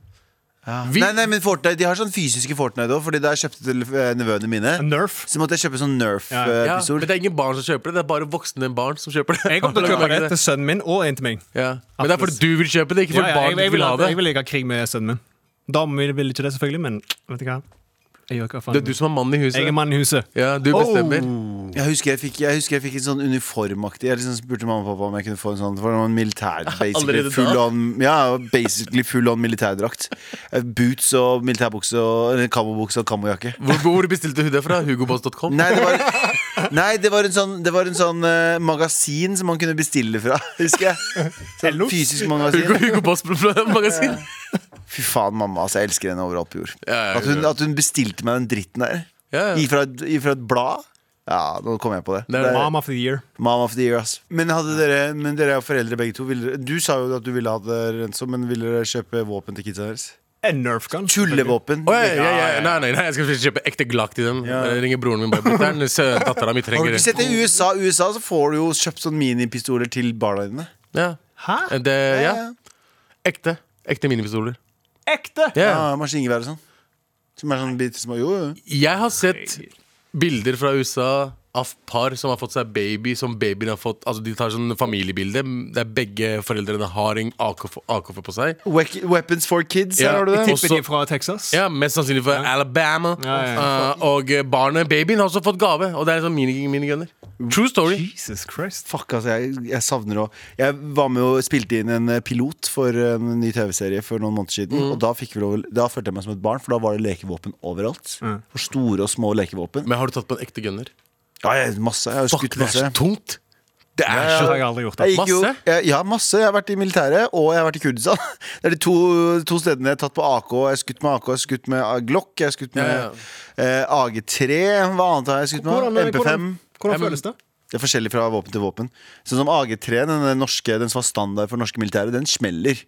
C: Vi-
B: Nei, nei, men Fortnite, de har sånn fysiske Fortnite òg, fordi da jeg kjøpte til eh, nevøene mine,
D: Nerf.
B: så måtte jeg kjøpe sånn
D: Ja.
C: Ja, men
B: Nerf-pistol.
C: det er ingen barn som kjøper det. Det er bare voksne barn som kjøper det.
D: Jeg kommer til å kjøpe det til sønnen min og en til meg.
C: Ja. Men det er fordi du vil kjøpe det, ikke
D: Ja,
C: fordi
D: ja, jeg,
C: barn
D: jeg, vil,
C: vil ha
D: ha-
C: det.
D: jeg vil ikke ha krig med sønnen min. Damen min vil ikke det, selvfølgelig, men vet du hva. Jeg gjør hva faen.
C: Det er du som er mannen i huset.
D: Jeg er Oh. mann i huset.
C: Ja, du bestemmer.
B: Jeg husker jeg fikk, jeg husker jeg fikk en sånn uniformaktig Jeg liksom spurte mamma og pappa om jeg kunne få en sånn For det var en militær basically
C: Allerede da?
B: full on, ja, basically full on militærdrakt Eh, Boots og militærbukse og eller Kamobukse og kamojakke
C: Hvor, hvor bestilte du det fra? Hugoboss.com?
B: Nei, det var, nei, det var en sånn, det var en sånn eh, magasin som man kunne bestille fra Husker jeg sånn Fysisk
C: Hugo,
B: magasin
C: Hugo Boss magasin
B: Fy faen mamma, altså jeg elsker henne overalt på jord
C: Ja, ja,
B: At hun,
C: ja.
B: at hun bestilte meg den dritten der
C: Ja, ja.
B: Ifra et, ifra et blad Ja, nå kom jeg på det
C: Det er-
D: Mom of the year.
B: Mom of the year, ass. Men, hadde dere, men dere er jo foreldre begge to. Ville, dere- du sa jo at du ville ha det renso, men ville dere kjøpe våpen til kidsa deres?
D: En Nerf gun.
B: Tullevåpen.
C: Å, ja, ja, ja. Nei, nei, nei, jeg skal kjøpe ekte glakk til dem. Jeg ringer broren min bare «Brutter'n, sø- Dattera mi
B: Har
C: trenger
B: du ikke sett
C: det.
B: det i USA? I USA så får du jo kjøpt sånn minipistoler til barna dine.
C: Ja.
D: Hæ?
C: Det, ja.
B: Ja, ja.
C: Ekte. Ekte minipistoler.
D: Ekte!
C: Ja.
B: Ja, Maskingevær og sånn. Som er sånn bitte små. Jo, jo.
C: Jeg har sett bilder fra USA av par som har fått seg baby. Som babyen har fått Altså De tar sånn familiebilde der begge foreldrene har en AKF, AKF på seg.
B: Wek- Weapons for kids,
C: Ja,
B: her har du
C: i
B: det.
C: tillegg- Også-
D: Tipper de fra Texas?
C: Ja, Mest sannsynlig fra Alabama.
D: Ja, ja, ja.
C: Eh, og barnet, babyen, har også fått gave. Og det er sånn mini- minigunner. True story.
D: Jesus Christ.
B: Fuck, altså, jeg, jeg savner å Jeg var med og spilte inn en eh, pilot for en ny TV-serie for noen måneder siden.
C: Mm.
B: Og da, fikk vi lov, da følte jeg meg som et barn, for da var det lekevåpen overalt.
C: Mm.
B: For store og små lekevåpen.
C: Men har du tatt på en ekte gunner?
B: Ja, jeg, masse. Jeg har
C: Fuck,
B: skutt
C: det er
B: masse.
C: så tungt! Det er
D: Det
C: så
D: har jeg aldri gjort. da.
B: Jeg gikk jo,
C: Masse?
B: jeg, ja, masse. Jeg har vært i militæret, og jeg har vært i Kurdistan. Det er de to, to stedene jeg har tatt på AK. Jeg har skutt med AK, jeg har skutt med eh, Glock, jeg har skutt med
C: Ja,
B: eh, AG3. Hva annet har jeg skutt med? MP5.
D: hvordan, hvordan
C: men-
D: føles det?
B: Det er forskjellig fra våpen til våpen. Sånn som AG3, den, der norske, den som var standard for norske militære, den smeller.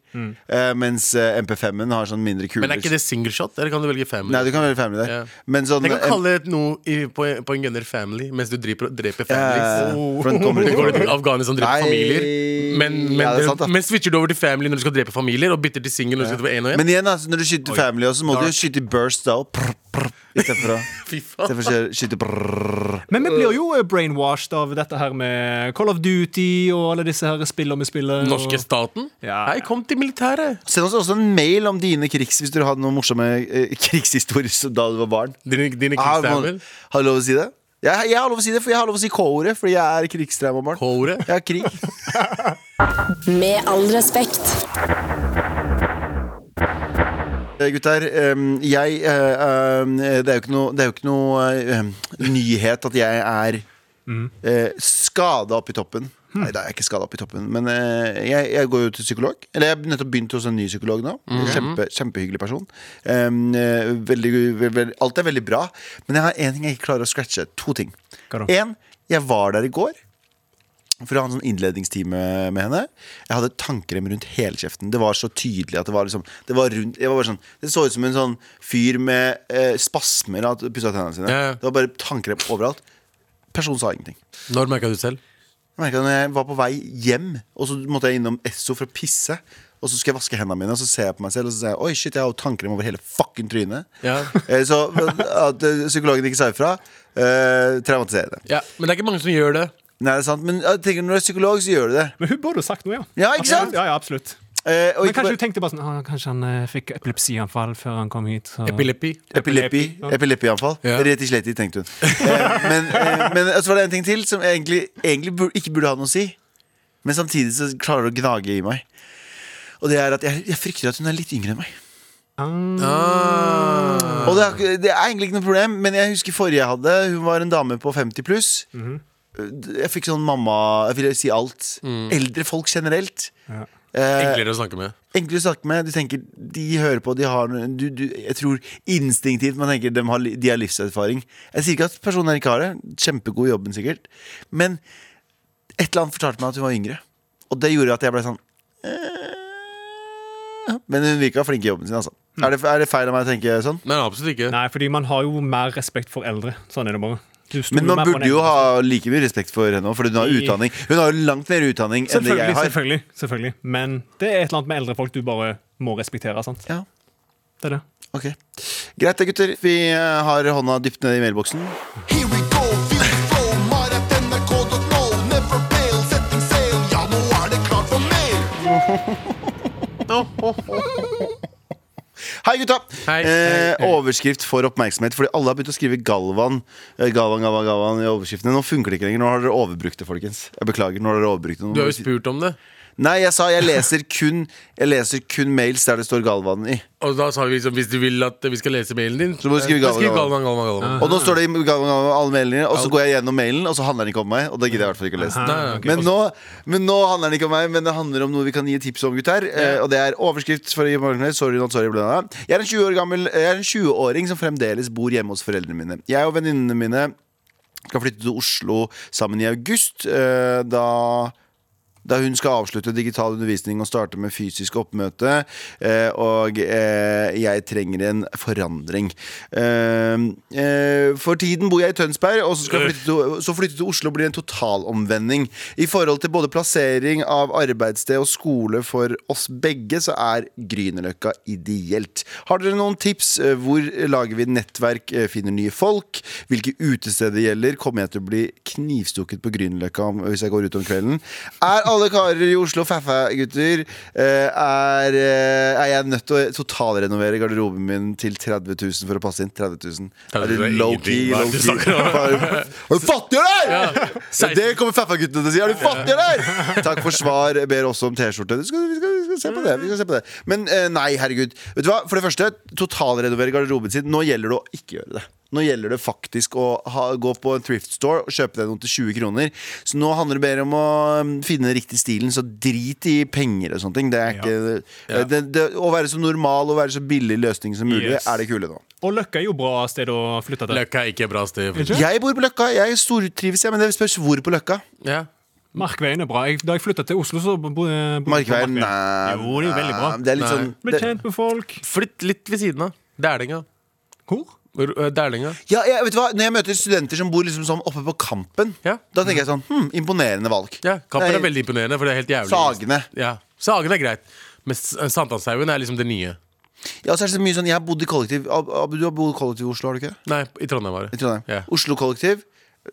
B: Eh, mens eh, MP5-en har sånn mindre kuler.
C: Mm. Men er ikke det single shot? Eller kan du velge family?
B: Nei, du kan velge family der.
C: Ja.
B: Men sånn
C: Tenk å
B: eh,
C: kalle det noe i, på, på en gunner family mens du dreper,
B: eh,
C: dreper families.
B: for den kommer
C: Du går
B: til
C: til Afghanistan og dreper
B: Nei.
C: familier, men, men,
B: Ja, det er sant, da.
C: men switcher du over til family når du skal drepe familier, og bytter til single når du skal drepe en og en
B: Men igjen, altså, når du skyter family også, må du jo skyte i burst da og prr, prr, i stedet for å i
C: Fy faen.
B: stedet for å skyte prr.
D: Men vi blir jo eh, brainwashed av dette her med Call of Duty og alle disse her spillene vi spiller. og-
C: Norske staten?
D: Ja.
C: Hei, kom til militæret!
B: Send oss også en mail om dine krigs hvis du hadde noen morsomme eh, krigshistorier så- da du var barn.
C: Dine, dine
B: Ah, må-
C: krigstraumer.
B: Har du lov å si det? Jeg, jeg har lov å si det, for jeg har lov å si K-ordet, fordi jeg er krigstraumabarn.
C: K-ordet.
B: Jeg har krig.
F: Med all respekt.
B: Eh, Gutter, ehm, jeg eh, ehm, Det er jo ikke noe, det er jo ikke noe eh, ehm, nyhet at jeg er eh, skada opp i toppen. Nei, da er jeg ikke skada opp i toppen, men eh, jeg, jeg går jo til psykolog. Eller jeg har nettopp begynt hos en ny psykolog nå. Kjempe, kjempehyggelig person. Ehm, eh, veldig, ve- ve- alt er veldig bra, men jeg har én ting jeg ikke klarer å scratche. To ting.
D: Hva da?
B: En, jeg var der i går. For å ha en sånn innledningstime med henne. Jeg hadde tannkrem rundt hele kjeften. Det var så tydelig at det var liksom Det var rundt jeg var bare sånn, Det så ut som en sånn fyr med eh, spasmer av at pussa tennene sine.
C: Ja, ja.
B: Det var bare tannkrem overalt. Personen sa ingenting.
C: Når merka du selv?
B: Jeg merket når jeg var på vei hjem, og så måtte jeg innom Esso for å pisse. Og så skal jeg vaske hendene mine, og så ser jeg på meg selv og så sier jeg, Oi, shit, jeg har jo tannkrem over hele fucking trynet.
C: Ja.
B: Eh, Så at eh, psykologen ikke sa ifra, eh, traumatiserende.
C: Ja, Men det er ikke mange som gjør det.
B: Nei, det er sant, men jeg tenker når du er psykolog, så gjør du det.
D: Men hun burde jo sagt noe, ja.
B: Ja, ikke sant?
D: Ja, ja, absolutt.
B: Eh, og
D: Men
B: ikke
D: kanskje
B: bare-
D: hun tenkte bare sånn «Ah, Kanskje han eh, fikk epilepsianfall før han kom hit. Så.
C: Epilepi.
B: Epilepi,
D: Ja.
B: epileppianfall.
C: Ja.
B: Rett i slett, tenkte hun. Eh, men eh, men så var det en ting til som egentlig, egentlig bur- ikke burde ha noe å si. Men samtidig så klarer det å gnage i meg. Og det er at jeg, jeg frykter at hun er litt yngre enn meg.
D: Ah,
C: Ah.
B: Og det er, ikke- det er egentlig ikke noe problem, men jeg husker forrige jeg hadde, hun var en dame på 50 pluss. Jeg fikk sånn mamma Jeg vil si alt. Eldre folk generelt.
D: Ja.
B: Eh,
C: Enklere å snakke med.
B: enklere å snakke med. Du tenker, De hører på, de har noe- du, du, Jeg tror instinktivt man tenker de har, li- de har livserfaring. Jeg sier ikke at personen her ikke har det. Kjempegod i jobben, sikkert. Men et eller annet fortalte meg at hun var yngre. Og det gjorde at jeg ble sånn eh. Men hun virka flink i jobben sin, altså. Er det, er det feil av meg å tenke sånn?
C: Nei, absolutt ikke.
D: Nei, fordi man har jo mer respekt for eldre. Sånn er det bare. Du stoler
B: Men man
D: mer på den
B: burde jo
D: enkelte.
B: ha like mye respekt for henne òg, for hun har
D: I-
B: utdanning. Hun har jo langt mer utdanning enn det jeg
D: Selvfølgelig,
B: har.
D: selvfølgelig, selvfølgelig. Men det er et eller annet med eldre folk du bare må respektere. sant?
B: Ja,
D: Det er det.
B: ok Greit det, gutter. Vi eh, har hånda dypt nede i mailboksen.
G: Here we go, feel the flow, mar at nrk.no, never fail, setting sail, ja nå er det klart for mail.
B: Hei, gutta!
C: Hei,
B: eh,
C: hei, hei.
B: Overskrift for oppmerksomhet, fordi alle har begynt å skrive Galvan. eh, Galvan, Galvan, Galvan i overskriftene. Nå funker det ikke lenger. Nå har dere overbrukt det, folkens. Jeg beklager. nå har dere overbrukt det Nå
C: Du har
B: må vi
C: jo
B: si-
C: spurt om det.
B: Nei, jeg sa jeg leser kun Jeg leser kun mails der det står Galvan i.
C: Og da sa vi liksom hvis du vil at vi skal lese mailen din,
B: Så må du skrive
C: da skriv
B: Galvan,
C: Galvan, Galvan, Galvan.
B: Og nå står det i Galvan, Galvan alle mailene, og så går jeg gjennom mailen, og så handler den ikke om meg. Og da gidder jeg i hvert fall ikke å lese den.
C: Nei, ok.
B: Men nå, men nå handler den ikke om meg, men det handler om noe vi kan gi tips om, gutter. Eh, og det er overskrift for Morgenklubben. Sorry, not sorry, blanda. Jeg er en 20 år gammel Jeg er en 20-åring som fremdeles bor hjemme hos foreldrene mine. Jeg og venninnene mine skal flytte til Oslo sammen i august. eh, da da hun skal avslutte digital undervisning og starte med fysisk oppmøte. eh, Og eh, jeg trenger en forandring. Eh, eh, For tiden bor jeg i Tønsberg, og så, skal jeg flytte til, så flytte til Oslo blir en totalomvending. I forhold til både plassering av arbeidssted og skole for oss begge, så er Grünerløkka ideelt. Har dere noen tips? Eh, Hvor lager vi nettverk, eh, finner nye folk? Hvilke utesteder det gjelder? Kommer jeg til å bli knivstukket på Grünerløkka om- hvis jeg går ut om kvelden? Er alle karer i Oslo fæffa, gutter? Eh, Er, eh, er jeg nødt til å totalrenovere garderoben min til 30 000 for å passe inn? 30 000. Er
C: Det er
B: det low-key?
C: ingenting. Hva er det du
B: Low-key?
C: snakker
B: Er du fattig, eller?! Ja, det kommer Faffa-guttene til å si. Er du fattig, eller?! Takk for svar. Ber også om T-skjorte. Vi, skal- vi, skal- vi skal se på det. Vi skal se på det. Men eh, nei, herregud. Vet du hva? For det første, totalrenovere garderoben sin. Nå gjelder det å ikke gjøre det. Nå gjelder det faktisk å ha, gå på en thrift store og kjøpe deg noe til 20 kroner. Så nå handler det mer om å mm, finne den riktige stilen, så drit i penger og sånne ting. Det er ikke, eh, det, det, å være så normal og være så billig løsning som mulig
D: Yes.
B: er det kule nå.
D: Og Løkka er jo bra sted å flytte til.
C: Løkka er ikke et bra sted. for-
D: Ikke?
B: Jeg bor på Løkka. Jeg stortrives, jeg, men det spørs hvor på Løkka.
C: Ja.
D: Markveien er bra. Jeg, da jeg flytta til Oslo, så bo- bodde jeg på
B: Markveien, nei.
D: Jo, det er jo veldig bra.
B: Det er litt
C: Nei.
B: sånn
D: Ble
B: det,
D: kjent med folk.
C: Flytt litt ved siden av. Dælinga.
D: Hvor?
C: R- øh, Dælinga.
B: ja, jeg, vet du hva? Når jeg møter studenter som bor liksom sånn oppe på Kampen,
C: Ja.
B: da tenker jeg sånn hm, Imponerende valg.
C: Ja, Kampen er
B: Nei,
C: veldig imponerende, for det er helt jævlig.
B: Sagene.
C: Ja, Sagene er greit. Men S- Sankthanshaugen er liksom det nye.
B: Ja, så er det så mye sånn Jeg har bodd i kollektiv. Ab- Abu, du har bodd i kollektiv i Oslo, har du ikke?
C: Nei, i Trondheim var
B: I
C: det.
B: Trondheim.
C: Ja.
B: Oslo kollektiv.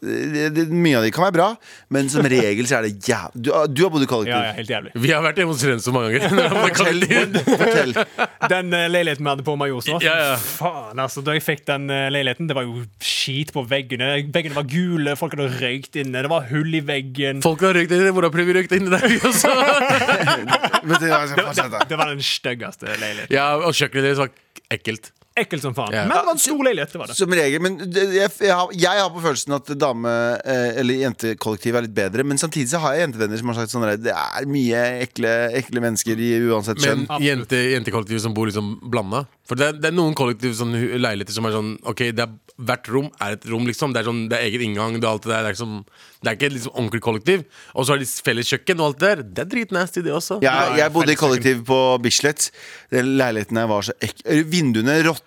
B: Det, det, mye av de kan være bra, men som regel så er det jævlig Du, du har bodd i kollektiv.
D: Ja, ja, helt jævlig.
C: Vi har vært hjemme hos Renzo mange ganger.
B: Fortell. fortell.
D: Den eh, leiligheten vi hadde på Majorstua
C: Ja, ja.
D: Faen, altså, da jeg fikk den eh, leiligheten, det var jo skit på veggene. Veggene var gule, folk hadde røykt inne, det var hull i veggen.
C: Folk har røykt inni Hvordan prøver vi røykt inni der vi også?
B: Vet du hva, jeg skal fortsette.
D: Det var den styggeste leiligheten.
C: Ja, og kjøkkenet deres var ekkelt.
D: Ekkelt som faen.
C: Ja.
D: Men det var en stor leilighet. det var det
B: Som regel, men det- jeg, jeg, har, jeg har på følelsen at dame- eh, eller jentekollektiv er litt bedre. Men samtidig så har jeg jentevenner som har sagt sånn der, det er mye ekle, ekle mennesker i uansett
C: Men
B: kjønn.
C: jente, jentekollektiv som bor liksom blanda. For det er, det er noen kollektiv sånn, hu- leiligheter som er sånn Ok, det er, hvert rom er et rom, liksom. Det er, sånn, det er egen inngang. Det er, alt det, der. Det er, liksom, det er ikke et liksom, ordentlig kollektiv. Og så har de felles kjøkken og alt det der. Det er dritnasty, det også.
B: Jeg, jeg bodde i kollektiv på Bislett. Den leiligheten her var så ekkel. Vinduene råtna.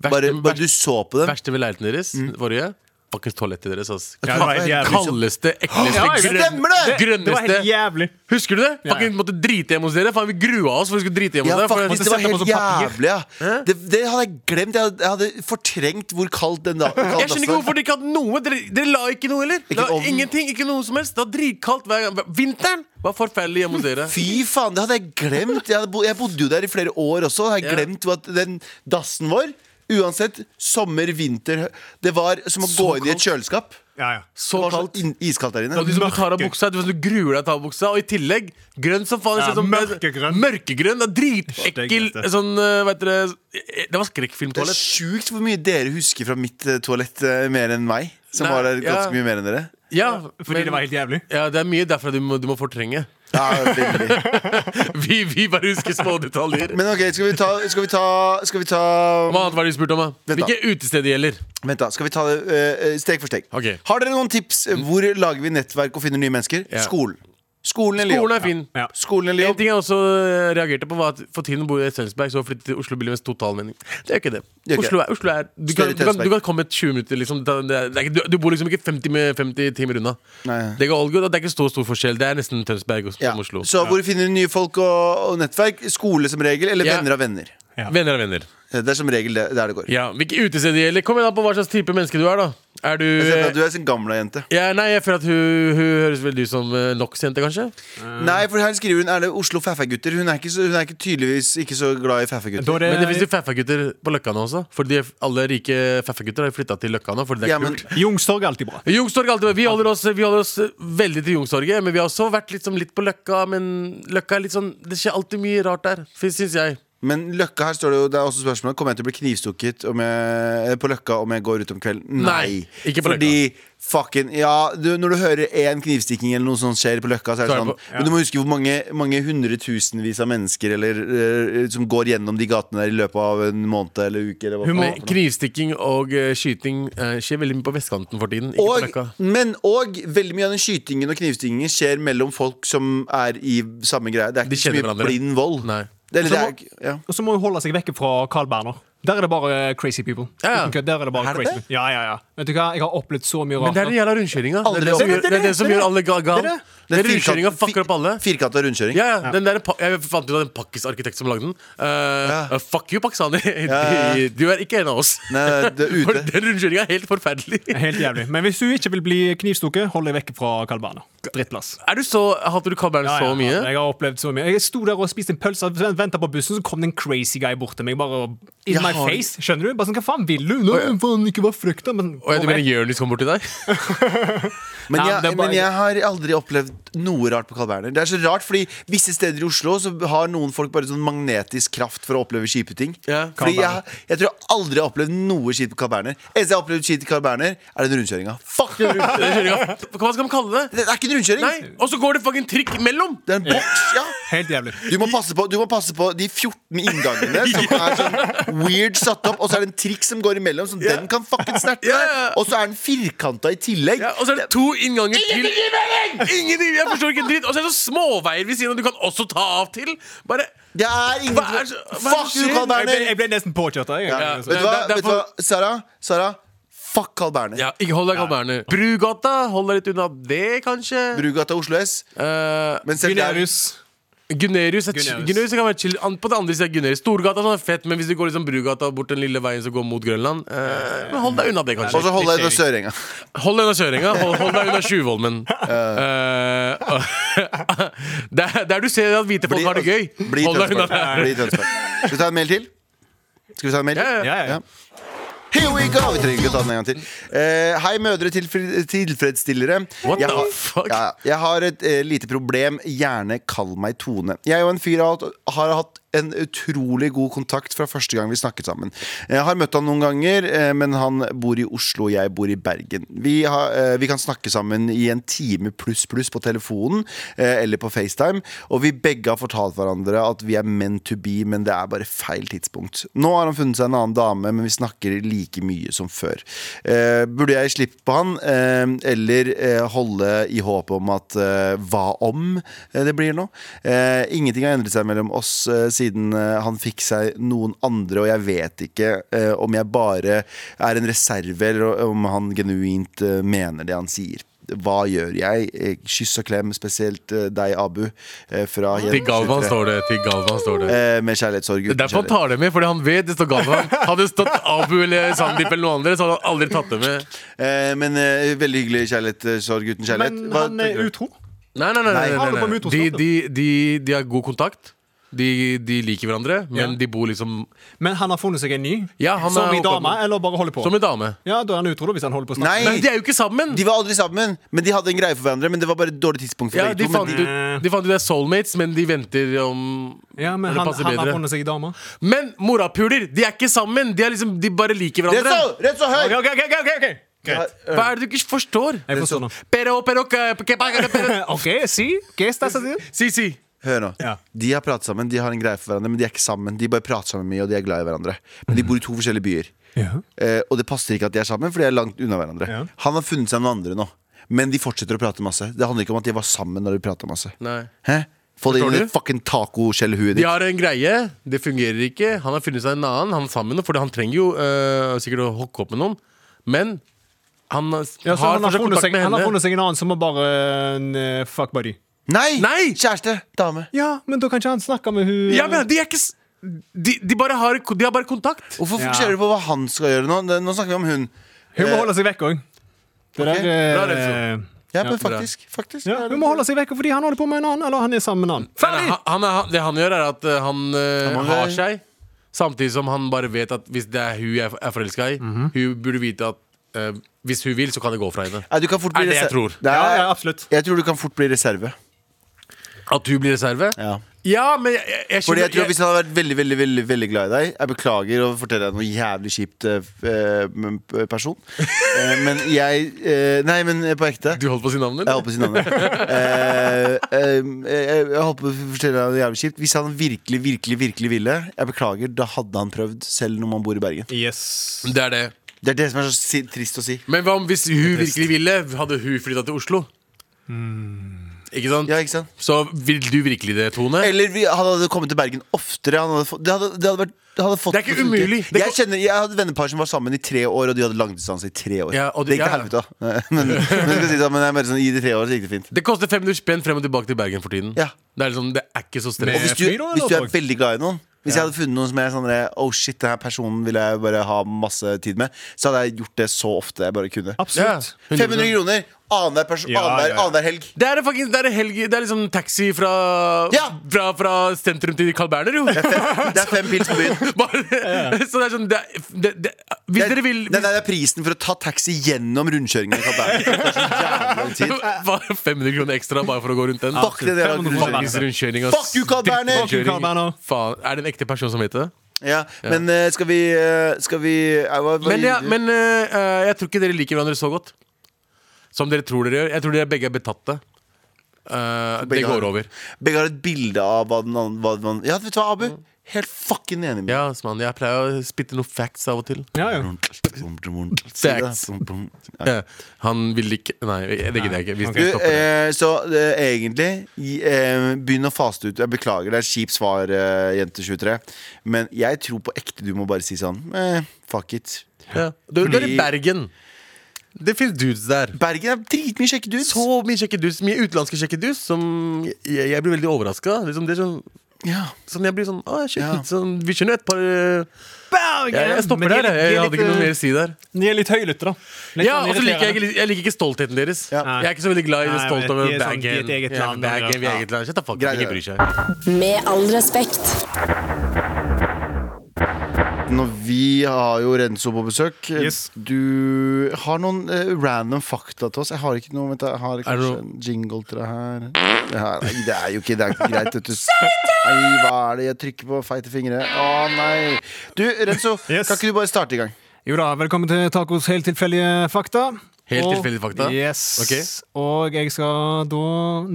C: Verste-
B: Bare, bare
C: verste-
B: du så på dem.
C: verste ved leiligheten deres forrige Fuckings toalettet deres, ass.
D: Ja, Mm. det var helt jævlig.
C: Kaldeste, ekleste,
D: Ja,
B: stemmer det!
D: Det var helt
C: grønneste
D: jævlig.
C: Husker du det?
D: Ja.
C: Fucking måtte drite hjemme hos dere. Faen, vi grua oss for vi skulle drite hjemme
B: Ja,
C: hos dere. for-
B: faktisk, det var
D: sette på
B: helt
D: sånn papir.
B: jævlig. Ja. Det, det hadde jeg glemt. Jeg hadde, jeg hadde fortrengt hvor kaldt den da kaldt
C: Jeg skjønner ikke
B: dassen var.
C: hvorfor dere ikke hadde noe. Dere, dere la ikke noe, eller?
B: Ikke
C: la
B: ovn.
C: ingenting, ikke noe som helst. Det var dritkaldt hver gang. Vinteren var forferdelig hjemme hos dere.
B: Fy faen, det hadde jeg glemt. Jeg, hadde bo, jeg bodde jo der i flere år også. Jeg hadde
C: Ja.
B: glemt at den dassen vår Uansett, sommer, vinter hø- Det var som å
C: Så
B: gå inn i et
C: kaldt.
B: kjøleskap.
D: Ja, ja.
B: Det
C: Så
B: var så
C: kaldt.
B: inn- iskaldt der
C: Det var
B: inne.
C: de som du tar av buksa, det var som du gruer deg til å ta av buksa. Og i tillegg, grønn som faen.
D: Ja,
C: sånn som-
D: mørkegrønn.
C: Mørkegrønn, det er dritekkel
D: Styggeste.
C: sånn, øh, vet dere Det var
B: Det er
C: skrekkfilmtoalett.
B: sjukt hvor mye dere husker fra mitt eh, toalett eh, mer enn meg. Som
C: Nei,
B: var der
C: ja.
B: ganske mye mer enn dere.
C: Ja,
D: Fordi det var helt jævlig.
C: Ja, det er mye derfra du må, du må fortrenge.
B: Ja, veldig.
C: Vi, vi bare husker små detaljer.
B: Men ok, skal vi ta, skal vi ta, skal vi ta
C: Hva annet var det du spurte om? da?
B: Vent da.
C: Hvilke utested det gjelder?
B: Vent da, skal vi ta det eh, eh, steg for steg.
C: Ok.
B: Har dere noen tips? eh, Hvor lager vi nettverk og finner nye mennesker?
C: Ja.
B: Skolen. Skolen eller jobb?
C: Skolen er fin.
D: Ja.
B: Skolen eller
C: En
B: jobb?
C: ting jeg også øh, reagerte på, var at for tiden bor jeg i Tønsberg, så flyttet til Oslo Billigvens totalmening. Det er ikke det.
B: Det er ikke
C: Oslo er, Oslo er
B: Større
C: du, kan, du, kan,
B: Tønsberg.
C: du kan komme 20 minutter, liksom. Det er, det er, ikke- du, du bor liksom ikke 50, med 50 timer unna.
B: Nei.
C: Det, går all good, og det er ikke så stor forskjell. Det er nesten Tønsberg og
B: Ja.
C: som Oslo.
B: Så hvor finner du nye folk og, og nettverk? Skole som regel, eller
C: Ja.
B: venner av venner?
D: Ja.
C: Venner er venner.
B: Eh, Det er som regel det, der det går.
C: Ja, Hvilke utested det gjelder? Kom igjen da på hva slags type menneske du er, da. Er du,
B: Jeg ser at Du er en gamla jente.
C: ja, Nei, jeg føler at hun, hun høres vel ut som eh, NOx-jente, kanskje? Mm.
B: Nei, for her skriver hun Er det Oslo Fæffa-gutter. Hun, er ikke så- hun er ikke tydeligvis ikke så glad i Fæffa-gutter.
D: Da er
C: Men det
D: det,
C: fins jo faffa-gutter på Løkka nå også. Fordi alle rike faffa-gutter har flytta til Løkka nå. Fordi det er
B: Ja, men-
C: kult
D: Youngstorg er alltid bra.
C: Youngstorget er alltid bra. Vi holder, oss, vi holder oss eh, veldig til Youngstorget, men vi har også vært liksom litt på Løkka. Men Løkka er litt sånn Det skjer alltid mye rart der, syns jeg.
B: Men Løkka her står det jo Det er også spørsmålet Kommer jeg til å bli knivstukket om jeg, på Løkka om jeg går ut om kvelden?
C: Nei, ikke på
B: Fordi fucking Ja, du, når du hører én knivstikking eller noe sånt skjer på Løkka, så er det
C: Så er
B: sånn
C: det på-
B: Men du må huske hvor mange, mange hundretusenvis av mennesker eller, eh, som går gjennom de gatene der i løpet av en måned eller uke. Eller hva faen det er
C: Men
B: for noe.
C: Knivstikking og eh, skyting eh, skjer veldig mye på vestkanten for tiden. Ikke på
B: Og,
C: Løkka.
B: men og veldig mye av den skytingen og knivstikkingen skjer mellom folk som er i samme greie. Det er
C: De
B: ikke så
C: kjenner
B: mye
C: hverandre.
B: blind vold.
C: Nei.
B: Eller, det
D: Så
B: er,
D: må-
B: ikke- ja.
D: Og så må hun holde seg vekke fra Carl Berner. Der er det bare crazy people.
C: Ja, ja.
D: Uten kødd, Der er det bare
B: Er det
D: crazy
B: det?
D: people. Ja, ja, ja. Vet du hva, jeg har opplevd så mye
C: Men
D: rart.
C: det er den jævla rundkjøringa. Det er
B: Aldri
C: det som
B: opp-
C: gjør, det er det som gjør alle ga- gal.
B: Dere?
C: Den
B: firkant-
C: rundkjøringa
B: fi-
C: fucker opp alle.
B: Firkanta rundkjøring.
C: Ja, ja. Den der, pa- jeg fant ut av den pakkisarkitekt som lagde den. Eh,
B: Ja.
C: eh, Fuck you, pakistaner.
B: ja, ja.
C: Du er ikke en av oss.
B: Nei, det er
C: For
B: ute.
C: den rundkjøringa er helt forferdelig.
D: Helt jævlig. Men hvis du ikke vil bli knivstukket, hold deg vekke fra Carl Berner. Drittplass.
C: Er du så, Hater du Carl Berner
D: Ja, ja,
C: så mye?
D: Jeg har opplevd så mye Jeg sto der og spiste en pølse, venta på bussen, så kom det en crazy guy bort til meg. Bare in
B: Jeg
D: my
B: har-
D: face, skjønner du? Bare sånn, Hva faen vil du? Nå, faen, ikke vær frekk, da. Men,
C: Og jeg, du mener Jonis kom bort til deg?
B: Men,
D: Ja, det
B: jeg,
D: er bare-
B: men jeg har aldri opplevd noe rart på Carl Berner. Det er så rart, fordi visse steder i Oslo så har noen folk bare sånn magnetisk kraft for å oppleve kjipe ting.
C: Ja, Carl
B: fordi jeg, jeg tror jeg aldri har opplevd noe kjipt på Carl Berner. Eneste jeg har opplevd kjipt i Carl Berner, er den rundkjøringa.
C: Fuck den rundkjøringa. Hva skal man kalle det?
B: Det er ikke en rundkjøring!
C: Nei, Og så går det fucking trikk imellom!
B: Det er en boks, ja.
D: Helt jævlig.
B: Du må, passe på, du må passe på de 14 inngangene som er sånn weird satt opp, og så er det en trikk som går imellom, så den kan fucking snerte.
C: Ja, ja, ja.
B: Og så er den firkanta i tillegg.
C: Ja, og så er det to innganger til Ingenting! Jeg forstår ikke en dritt. Og så er det så småveier ved siden av du kan også ta av til. Bare
B: Det er ingen
C: Hva er så- hva er
B: Fuck
C: så
B: you,
C: synd?
B: Carl
D: Jeg ble,
B: Berner!
D: jeg ble nesten påkjørt. da, Jeg,
C: Ja.
B: Vet du hva,
C: Det er
B: vet du hva? Sara? Sara? Fuck Carl Berner.
C: Ja, ikke hold deg Carl Berner. Brugata, hold deg litt unna det, kanskje.
B: Brugata Oslo S.
C: Eh,
B: Men selv der
D: Gunerius.
C: Gunerius, er
D: Gunerius.
C: Gunerius kan være chill. An- På den andre siden er Gunerius. Storgata sånn er fett, men hvis du går liksom Brugata og bort den lille veien som går mot Grønland eh, Men Hold deg unna det,
B: Og
C: kanskje.
B: så holder jeg til Sørenga.
C: Hold deg unna kjøringa. Hold, hold deg unna Tjuvholmen. Eh, der, der du ser at hvite folk har det gøy.
B: Bli
C: Hold deg unna
B: Tønsberg.
C: der.
B: Bli Tønsberg. Skal vi ta en mail til? Skal vi ta en mail?
C: Ja, ja.
D: Ja, ja, ja.
B: Ja. Here we go! Vi trenger ikke å ta den en gang til. Eh, hei, mødre tilfri- tilfredsstillere.
C: What
B: jeg
C: the
B: har,
C: fuck?
B: Ja, jeg har et eh, lite problem. Gjerne kall meg Tone. Jeg og en fyr har, hatt- har hatt en utrolig god kontakt fra første gang vi snakket sammen. Jeg har møtt han noen ganger, eh, men han bor i Oslo, jeg bor i Bergen. Vi, har, eh, vi kan snakke sammen i en time pluss pluss på telefonen eh, eller på FaceTime, og vi begge har fortalt hverandre at vi er meant to be, men det er bare feil tidspunkt. Nå har han funnet seg en annen dame, men vi snakker like mye som før. Eh, burde jeg slippe på han, eh, eller eh, holde i håp om at eh, hva om eh, det blir nå? Eh, ingenting har endret seg mellom oss eh, siden eh, han fikk seg noen andre, og jeg vet ikke eh, om jeg bare er en reserve, eller om han genuint eh, mener det han sier. Hva gjør jeg? Eh, Kyss og klem, spesielt eh, deg, Abu. eh, Fra
C: Til Galvan
B: 23.
C: står det. Til Galvan står det.
B: Eh, Med kjærlighetssorg.
C: Det er
B: uten
C: derfor han
B: kjærlighet.
C: tar det med, fordi han vet det står Galvan. Hadde det stått Abu eller Sandeep eller noen andre, så hadde han aldri tatt det med.
B: Eh, Men eh, veldig hyggelig kjærlighetssorg uten kjærlighet.
D: Men
B: Hva
D: han
C: eh,
B: tenker du?
D: er utro.
C: Nei, nei, nei, nei,
D: Nei.
C: nei, nei. De, de, de, de har god kontakt. De, de liker hverandre, men
D: Ja.
C: de bor liksom
D: Men han har funnet seg en ny.
C: Ja, han
D: som
C: er
D: i
C: hooka
D: dame,
C: med-
D: eller bare holder på?
C: Som en dame.
D: Ja, da er han utro, da, hvis han holder på å snakke.
B: Nei,
C: Men de er jo ikke sammen!
B: de var aldri sammen, men de hadde en greie for hverandre. Men det var bare et dårlig tidspunkt for
C: Ja,
B: begge
C: de,
B: to, men
C: fant ut, de fant ut det er soulmates, men de venter om
D: Ja, men
C: når det
D: han,
C: passer
D: han har
C: bedre.
D: funnet seg en dame.
C: Men morapuler! De er ikke sammen! De, er liksom, de bare liker
B: Rett så,
C: hverandre.
B: rett så eh, høy!
D: Ok, ok, ok, ok, ok, ok. Greit.
C: Hva er det du ikke forstår?
D: Jeg forstår nå.
C: Pero, pero, que- que- que- que-
D: Ok, si. Hva er det?
C: Si, si.
B: Hør nå.
D: Ja.
B: De har pratet sammen, de har en greie for hverandre, men de er ikke sammen. De bare prater sammen mye, og de er glad i hverandre. Men de
C: Mm.
B: bor i to forskjellige byer.
D: Ja.
B: Eh, og det passer ikke at de er sammen, for de er langt unna hverandre.
D: Ja.
B: Han har funnet seg noen andre nå, men de fortsetter å prate masse. Det handler ikke om at de var sammen når de prata masse.
C: Nei.
B: Hæ? Få det inn
C: Forstår
B: i
C: du?
B: det fucking tacoskjellhuet
C: De
B: ditt.
C: har en greie, det fungerer ikke. Han har funnet seg en annen. Han er sammen, fordi han trenger jo øh, sikkert å hooke opp med noen. Men han har,
D: Ja, så
C: har
D: han, har
C: fortsatt
D: funnet
C: kontakt
D: seg,
C: med
D: han
C: henne.
D: har funnet seg en annen som er bare en eh, fuck buddy.
B: Nei!
C: Nei!
B: Kjæreste! Dame.
D: Ja, men da kan ikke han snakke med hun
C: Ja, men de er ikke s- de, de, bare har, de har bare kontakt.
B: Hvorfor fokuserer du på hva han skal gjøre nå? Det- Nå snakker vi om hun.
D: Hun må holde seg vekk òg.
B: Ok,
C: bra, sånn.
B: Ja, men faktisk, faktisk
D: eh, Ja, hun må holde seg vekk fordi han holder på med en annen, eller han er sammen med en annen.
C: Nei, nei,
D: Ferdig!
C: han, han, er- det han gjør, er at eh, han eh,
B: Han må
C: har
B: være-
C: seg. Samtidig som han bare vet at hvis det er hun jeg er forelska i,
B: Mhm.
C: hun burde vite at eh, hvis hun vil, så kan det gå fra henne.
B: Nei, du kan fort bli
C: Er det jeg
B: reser-
C: tror?
B: Nei,
D: Ja, ja, absolutt.
B: Jeg tror du kan fort bli reserve.
C: At hun blir reserve?
B: Ja.
C: Ja, men jeg, jeg, jeg
B: Fordi jeg
C: skjønner-
B: tror Hvis han hadde vært veldig veldig, veldig, veldig glad i deg Jeg beklager å fortelle deg noe jævlig kjipt eh, f- eh, m- p- person. Eh, men jeg eh, Nei, men på ekte.
C: Du holdt på å si navnet?
B: Jeg holdt på å si navnet. Eh, eh, jeg jeg holdt på å fortelle deg noe jævlig kjipt. Hvis han virkelig, virkelig, virkelig ville, jeg beklager, da hadde han prøvd, selv når man bor i Bergen.
D: Yes.
C: Det er det.
B: Det er det som er så si trist å si.
C: Men hva om hvis hun virkelig ville, hadde hun flytta til Oslo? Ikke sant?
B: Hmm. Ja, ikke sant?
C: Så vil du virkelig det, Tone?
B: Eller vi, han hadde kommet til Bergen oftere. Han hadde fått, det, hadde, det, hadde vært, det hadde fått
C: Det er
B: til
C: ikke
B: å funke.
C: umulig. Det er
B: jeg,
C: ikke-
B: kjenner, jeg hadde vennepar som var sammen i tre år, og de hadde langdistanse i tre år.
C: Ja, og
B: det
C: de-
B: gikk til helvete,
C: ja,
B: da. Men, men, jeg skal si det, men jeg er mer sånn, i de tre år så gikk det fint.
C: Det koster 500 spenn frem og tilbake til Bergen for tiden.
B: Ja.
C: Det er liksom, det er ikke så
B: Og
C: stress.
B: hvis du,
D: fly da, eller
B: hvis du er
D: tog?
B: veldig glad i noen Hvis jeg hadde funnet noen som jeg er sånn der, Oh shit, denne personen vil jeg bare ha masse tid med, så hadde jeg gjort det så ofte jeg bare kunne.
C: Ja,
D: Absolutt.
C: 100%.
B: 500 kroner annenhver perso-
D: Ja, ja,
B: annenhver-
D: ja.
B: annenhver helg.
C: Det er, faktisk, det, er en helg, det er liksom taxi fra,
B: Ja!
C: fra, fra sentrum til Carl Berner, jo.
B: Det er fem pils på byen.
C: Bare, så det er sånn det, er- det, det, Hvis
B: Det er-
C: dere vil
B: Nei, nei, det er prisen for å ta taxi gjennom rundkjøringen. i Kapellen. Det tar så jævlig lang tid.
C: Bare 500 kroner ekstra bare for å gå rundt den.
B: Fuck den jævla
D: 500
B: rundkjøringen.
C: Fuckings rundkjøring, ass.
B: Fuck you, Carl Berner!
D: Fuck you, Carl Berner.
C: Faen, Er det en ekte person som heter det?
B: Ja, men eh, skal vi eh, Skal vi eh, hva- hva-
C: Men, ja, men eh, eh, jeg tror ikke dere liker hverandre så godt som dere tror dere gjør. Jeg tror dere begge er betatte. Eh, det
B: Begge har-
C: går over.
B: Begge har et bilde av hva den andre hva den, Ja, vet du hva, Abu? Helt fucking enig med
C: Ja, ass, mann, Jeg pleier å spytte noen facts av og til.
D: Ja, ja.
C: Facts.
B: Ja.
C: Eh, han vil ikke Nei, det gidder jeg ikke. Vi
D: Ok.
B: Du,
C: skal stoppe det.
B: eh, så eh, egentlig gi- eh, Begynn å faste ut. Jeg beklager, det er et kjipt svar, eh, jente 23. Men jeg tror på ekte du må bare si sånn eh, Fuck it.
C: Ja. Du, du er i
B: Fordi-
C: Bergen. Det fins dudes der.
B: Bergen er dritmye kjekke dudes.
C: Så mye kjekke dudes, mye utenlandske kjekke dudes, som jeg, jeg blir veldig overraska. Liksom, det er sånn,
B: Ja.
C: sånn jeg blir sånn, «Å, shit,
B: Ja.
C: sånn Vi skjønner et par eh, Jeg, jeg
D: Men
C: stopper
D: de
C: der.
D: er litt-
C: Jeg,
D: de er
C: jeg hadde
D: litt,
C: ikke noe
D: eh,
C: mer å si der.
D: De er litt høylytte, da. Litt
C: Ja,
D: sånn
C: og så liker jeg,
D: irriterende.
C: ikke- jeg liker ikke stoltheten deres.
B: Ja.
C: Jeg er ikke så veldig glad i det
D: Nei,
C: stolt
D: men
C: over
D: de er sånn-
C: bagen.
D: de er et eget
C: Ja,
D: land,
C: bagen,
D: ja.
C: vi er eget land. Shut the fuck up,
B: Greit,
C: ingen
B: greit.
C: bryr seg.
F: Med all respekt.
B: Når vi har jo Renzo på besøk eh,
D: Yes.
B: Du har noen eh, random fakta til oss. Jeg har ikke noe vent, da. Jeg har kanskje
C: noe-
B: en jingle til det her. Det, her nei, det er jo ikke, det er ikke greit, vet du. Nei, hva er det jeg trykker på? Feite fingre. Å nei. Du, Renzo,
D: Yes.
B: kan ikke du bare starte i gang?
D: Jo da, velkommen til Tacos helt tilfeldige fakta.
C: Helt
D: Og-
C: tilfeldige fakta?
D: Yes.
C: Ok.
D: Og jeg skal da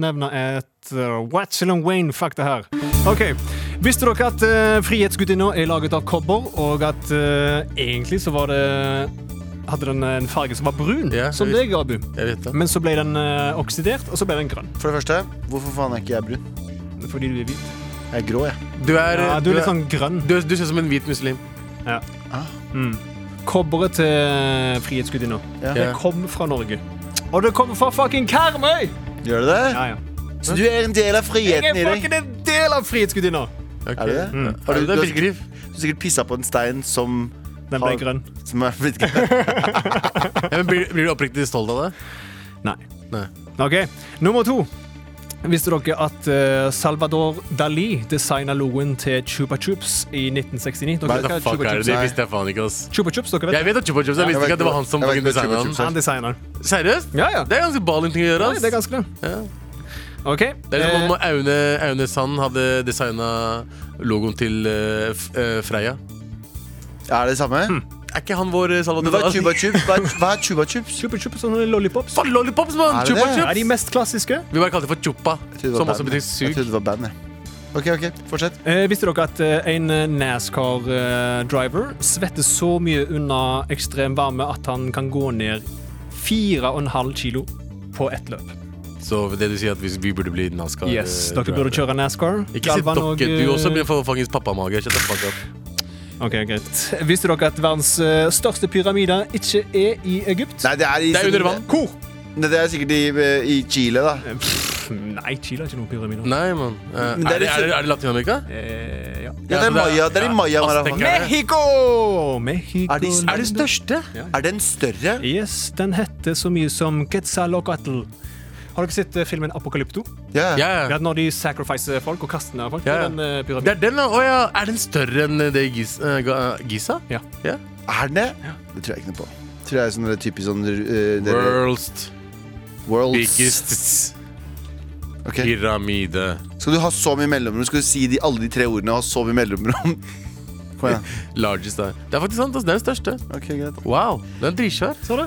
D: nevne et uh, Watchell and Wayne-fakta her. Ok, Visste dere at uh, Frihetsgudinna er laget av kobber, og at uh, egentlig så var det hadde den en farge som var brun,
C: Ja, jeg
D: som deg, Abu.
C: Jeg vet det.
D: Men så ble den uh, oksidert, og så ble den grønn.
B: For det første, hvorfor faen er ikke jeg brun?
D: Fordi du er hvit.
B: Jeg er grå, jeg.
C: Du er,
D: Ja, du
C: Eh, du
D: er litt
C: er-
D: sånn grønn.
C: du, du ser ut som en hvit muslim.
D: Ja. Mm. Kobberet til eh, Frihetsgudinna.
B: Ja.
D: Det kom fra Norge. Og det kommer fra fucking Karmøy!
B: Gjør du det?
D: Ja, ja.
B: Så du er en del av
D: Jeg
B: friheten
D: er
B: i deg?
D: fucking en del av Frihetsgudinna!
C: Ok.
B: Er du det?
C: Ja.
B: Har du-
C: det
B: du
C: er
B: har
C: virkelig.
B: Du har sikkert pissa på en stein som
D: Den ble
B: har-
D: grønn.
B: Som er blitt grønn.
C: Ja, men blir, blir du oppriktig stolt av det?
D: Nei.
C: Nei.
D: OK, nummer to. Visste dere at eh, Salvador Dali designa logoen til Chupa Chups i 1969? Dere
C: Hva
D: vet hva
C: fuck
D: Chupa
C: er det?
D: Chups
C: Det
D: er?
C: visste jeg faen ikke, ass.
D: Chupa Chups, dere vet?
C: Jeg vet at Chupa Chups, jeg visste
B: Jeg
C: ikke
B: vet
C: at det var han som
B: ikke- jeg
C: fucking
B: vet ikke hva
C: designa den.
B: Chupa
D: Han designer den.
C: Seriøst?
D: Ja, ja.
C: Det er ganske ballin ting å gjøre,
D: Nei,
C: ass.
D: det er ganske det.
C: Ja.
D: OK.
C: Det er som om
D: eh,
C: Aune, Aune Sand hadde designa logoen til eh, F- eh, Freia.
B: Er det det samme?
C: Er ikke han vår eh,
B: Men hva
C: Salvador
B: er chuba chups? Hva er- Hva er chuba chups?
D: Chupa Chups og lollipops
C: Faen, lollipops, mann!
B: Er det
C: Chupa
B: det?
C: Chups!
D: er de mest klassiske.
C: Vi bare kalte det for chupa,
B: trodde det
C: som
B: var
C: også
B: band,
C: betyr
B: Jeg
C: sug.
B: trodde det var bandet. Ok, ok, fortsett.
D: Eh, visste dere at eh, en NASCAR-driver svetter så mye unna ekstrem varme at han kan gå ned 4,5 kilo på ett løp?
C: Så det du sier at hvis vi burde bli NASCAR
D: Yes,
C: eh,
D: Dere burde
C: driver.
D: kjøre NASCAR.
C: Ikke si
D: Galvan
C: dere,
D: og,
C: du også
D: eh,
C: blir for fuckings pappamage. Shut the fuck up.
D: Ok, greit. Visste dere at verdens eh, største pyramide ikke er i Egypt?
B: Nei, det er, i,
C: Det er under vann.
B: Nei, det er sikkert i, i eh, Chile, da.
D: Nei, Chile har ikke noen pyramider.
C: Nei, mann. Eh,
B: Men det er
C: er, det-
B: liksom-
C: er, det- er det Latin-Amerika?
D: Eh, ja.
B: Ja, det er Maya. Det er i Maya Marathon.
C: Azteca.
D: Mexico! Mexico.
B: Er, de, er det største?
D: Ja.
B: Er den større?
D: Yes, den heter så mye som Quetzalcoatl. Har dere sett eh, filmen Apokalypto?
B: Ja.
C: Ja,
D: Det
C: ja.
D: er når de sacrificer folk og kaster ned folk.
C: Ja, ja.
D: i Den, eh,
C: Det
D: pyramiden.
C: er den, da. Å ja. Er den større enn det i Gis- eh, Ga- Giza?
D: Ja.
C: ja.
B: Er den det? Det tror jeg ikke noe på. Tror jeg er sånn der typisk sånn eh, dere-
C: World's
B: Worlds.
C: biggest
B: Ok.
C: pyramide.
B: Skal du ha så mye mellomrom? Skal du si de, alle de tre ordene og ha så mye mellomrom? Kom igjen.
C: Largest der. Det er faktisk sant. ass. Det er den største.
B: Ok, greit.
C: Wow. Den er dritsvær.
D: Så du?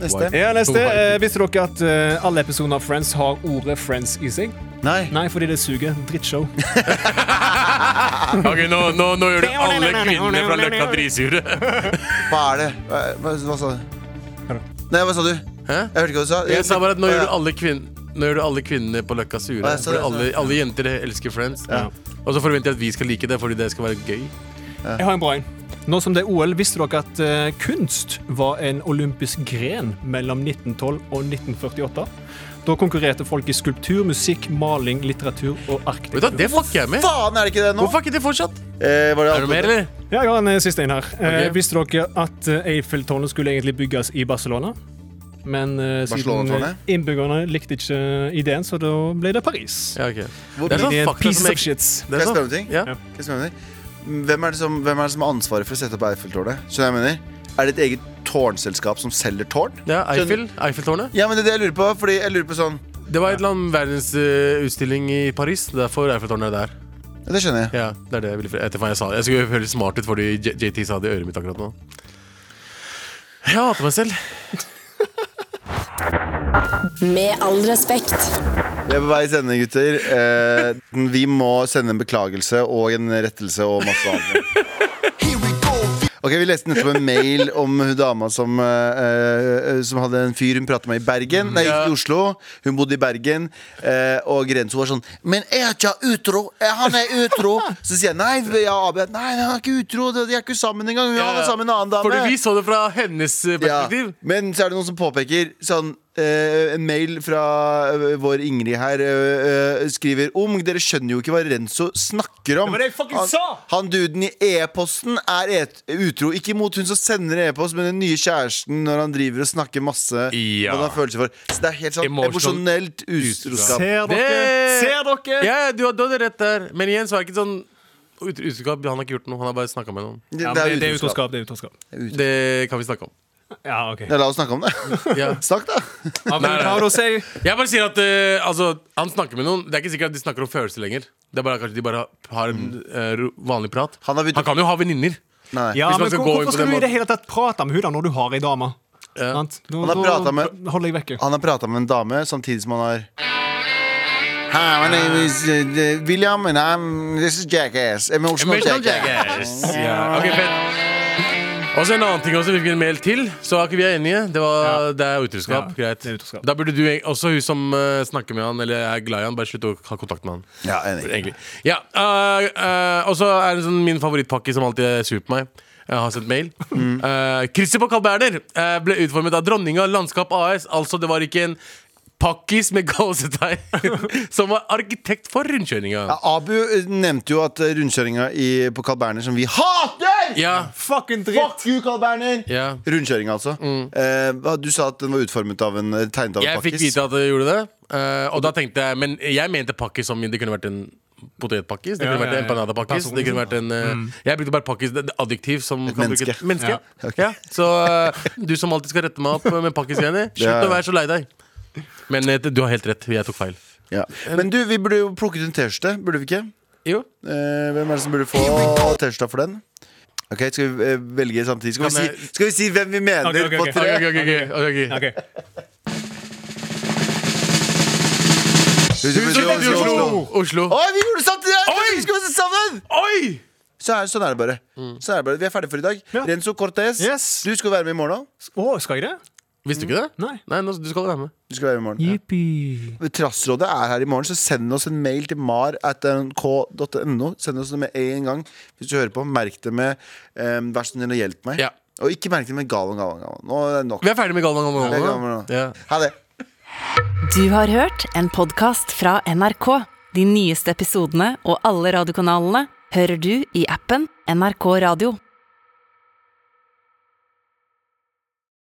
B: Neste.
D: Ja, neste. Eh, visste dere at eh, alle episoder av Friends har ordet Friends i seg?
B: Nei.
D: Nei, fordi det suger. Drittshow.
C: Ok, nå, nå, nå gjør du alle kvinnene fra Løkka dritsure.
B: Hva er det? Hva, hva, hva sa du? Nei, hva sa du?
C: Hæ?
B: Jeg hørte ikke hva du sa.
C: Jeg sa bare at nå
B: Å,
C: gjør
B: ja.
C: du alle kvinnene nå gjør du alle kvinnene på Løkka sure.
B: Ja, jeg sa det,
C: Fordi
B: jeg sa
C: alle,
B: det.
C: alle jenter elsker Friends.
D: Ja.
C: Og så forventer jeg at vi skal like det fordi det skal være gøy.
D: Jeg har en bra en. Nå som det er OL, visste dere at eh, kunst var en olympisk gren mellom 1912 og 1948? Da konkurrerte folk i skulptur, musikk, maling, litteratur og
C: Vet du hva,
D: arkitektur.
C: Det fucker jeg med.
B: Faen, er det ikke det nå?
C: Hvorfor er ikke det fortsatt?
B: Eh, var det
C: Er du med, eller?
D: Ja, jeg har en eh, siste en her. Eh,
C: Ok.
D: visste dere at eh, Eiffeltårnet skulle egentlig bygges i Barcelona? Men eh, siden
B: Barcelona-tårnet?
D: eh, innbyggerne likte ikke eh, ideen, så da ble det Paris.
C: Ja, ok.
B: Hvor-
C: Det er sånn
D: Det er en
C: fakta
D: piece
C: som
D: of
C: jeg
D: shit.
C: det er
B: Kan jeg
C: sånn-
B: spørre om ting?
C: Ja.
B: Kan jeg spørre om ting? Hvem er, det som, hvem er det som har ansvaret for å sette opp Eiffeltårnet? Skjønner jeg hva jeg mener? Er det et eget tårnselskap som selger tårn?
C: Ja, Eiffel, Eiffeltårnet.
B: Ja, men det er det jeg lurer på. Fordi jeg lurer på sånn
C: Det var et eller annet verdensutstilling i Paris. Derfor Eiffeltårnet er der.
B: Ja, Det skjønner jeg.
C: Ja, det er det Jeg ville etter hva jeg sa. Jeg skulle høre smart ut fordi J- JT sa det i øret mitt akkurat nå. Jeg hater meg selv.
F: Med all respekt.
B: Vi er på vei i sending, gutter. Eh, vi må sende en beklagelse og en rettelse og masse annet.
G: Here we go.
B: Ok, Vi leste nettopp en mail om hun dama som, eh, eh, som hadde en fyr hun prata med i Bergen. Nei, ikke i Oslo. Hun bodde i Bergen. Eh, og Renzo var sånn 'Men er ikke han utro? Er Han er utro!' Så sier jeg nei, ja, Abu, nei, han er ikke utro. De er ikke sammen engang. Han er sammen med en annen dame.
C: Fordi vi så det fra hennes eh, perspektiv.
B: Ja. Men så er det noen som påpeker sånn, eh, En mail fra eh, vår Ingrid her eh, eh, skriver om Dere skjønner jo ikke hva Renzo snakker om.
D: Det var det jeg fucking
B: han,
D: sa!
B: han duden i e-posten er et, utro. Ikke mot hun som sender e-post, men den nye kjæresten når han driver og snakker masse.
C: Ja.
B: Hva han har følelser for Så det er helt sånn
C: Emotional-
B: emosjonelt utroskap.
D: Ser dere?
C: Det-
D: Ser dere?
C: Ja, ja, du, hadde- du hadde rett der. Men igjen så er det ikke sånn ut- utroskap. Han har ikke gjort noe. Han har bare snakka med noen.
B: Det,
D: Ja,
B: det
D: men det, det
B: er
D: er
B: utroskap.
D: utroskap. Det er utroskap.
C: Det kan vi snakke om.
D: Ja, OK.
B: Ja, la oss snakke om det.
C: Ja.
B: Snakk, da.
D: Ja, men,
C: Nei, nei,
D: hva har du å si?
C: Jeg bare sier at eh, altså, han snakker med noen. Det er ikke sikkert at de snakker om følelser lenger. Det er bare Kanskje de bare har en eh, ro- vanlig prat.
B: Mm. Han har begynt-
C: kan jo ha venninner.
B: Nei.
D: Ja,
C: Hvis man
D: men
C: skal
D: hvor,
C: gå inn på
D: hvorfor skal
C: den
D: du i det
C: måten.
D: hele tatt prate med henne da når du har ei dame?
C: Ja.
D: Sant? Da-
B: Han har
D: da
B: pratet med-
D: Holder jeg
C: Ah.
D: vekke.
B: Han har prata med en dame samtidig som han har Hi, my name is uh, uh, William, and I'm This is Jackass. Emotional,
C: Emotional
B: jackass.
C: jackass. Ja. Ok, fett. Og så en annen ting også, vi fikk en mail til, så er ikke vi er enige. Det, var,
D: Ja.
C: det er utroskap.
D: Ja,
C: Greit.
D: det er utroskap.
C: Da burde du eg- også hun som eh, snakker med han, eller er glad i han, bare slutte å ha kontakt med han.
B: Ja, enig.
C: Egentlig. Ja, øh, øh, og så er det sånn min favorittpakke som alltid er sur på meg. Jeg har sendt mail. Eh, Christopher Carl Berner eh, ble utformet av Dronninga Landskap AS. Altså, det var ikke en pakkis med gåsetegn som var arkitekt for rundkjøringa.
B: Ja, Abu uh, nevnte jo at uh, rundkjøringa i- på Carl Berner, som vi hater
C: Ja.
D: Fucking dritt!
B: Fuck you, Carl Berner!
C: ja.
B: Rundkjøringa, altså. Eh, hva- du sa at den var utformet av en eh, tegnet av en
C: Mm. Jeg fikk
B: pakkis.
C: vite at jeg gjorde det. eh, og da tenkte jeg Men jeg mente pakkis som i det kunne vært en potetpakkis. Det
D: Ja,
C: kunne
D: ja,
C: vært
D: ja.
C: en empanadapakkis. Det
D: Personlig,
C: kunne vært en eh, Jeg brukte bare pakkis, det det adjektiv som
B: Et
C: kan
B: menneske.
C: brukes- menneske.
D: Ja.
C: Ja. Så eh, du som alltid skal rette meg opp med pakkisgreiene, slutt
B: Ja, ja.
C: å være så lei deg. Men eh, du har helt rett. Jeg tok feil.
B: Ja. Men du, vi burde jo plukket en T-skjorte, burde vi ikke?
C: Jo.
B: Eh, hvem er det som burde få T-skjorta for den? Ok, Skal vi eh, velge samtidig? Skal vi,
C: Kan
B: si,
C: jeg-
B: skal vi si hvem vi mener
D: Ok, ok, ok.
B: på
C: Ok,
B: tre?
C: ok, ok, ok, ok.
D: Ok.
B: Huset
C: Huset
B: på
C: i Oslo! Oslo.
B: Oi, vi gjorde det samtidig!
C: Oi!
B: Vi skal se sammen!
C: Oi!
B: Så er, sånn er det bare. Sånn er det bare. Vi er ferdige for i dag.
D: Ja.
B: Renzo Cortez,
D: Yes.
B: du skal være med i morgen òg.
D: Å, skal jeg det?
C: Visste du ikke det?
D: Nei.
C: Nei, nå, du skal være med.
B: Du skal være med i morgen.
D: Jippi.
B: Trassrådet er her i morgen, så send oss en mail til mar at nrk.no. Send oss det med en gang hvis du hører på. Merk det med um, 'vær så snill og hjelp meg'.
C: Ja.
B: Og ikke merk det med 'Galvan, Galvan, Galvan'. Nå er det nok.
C: Vi er ferdig med Galvan. Galvan,
B: Det er
C: Galvan.
B: gammel nå.
C: Ja.
B: Ha det.
A: Du har hørt en podkast fra NRK. De nyeste episodene og alle radiokanalene hører du i appen NRK Radio.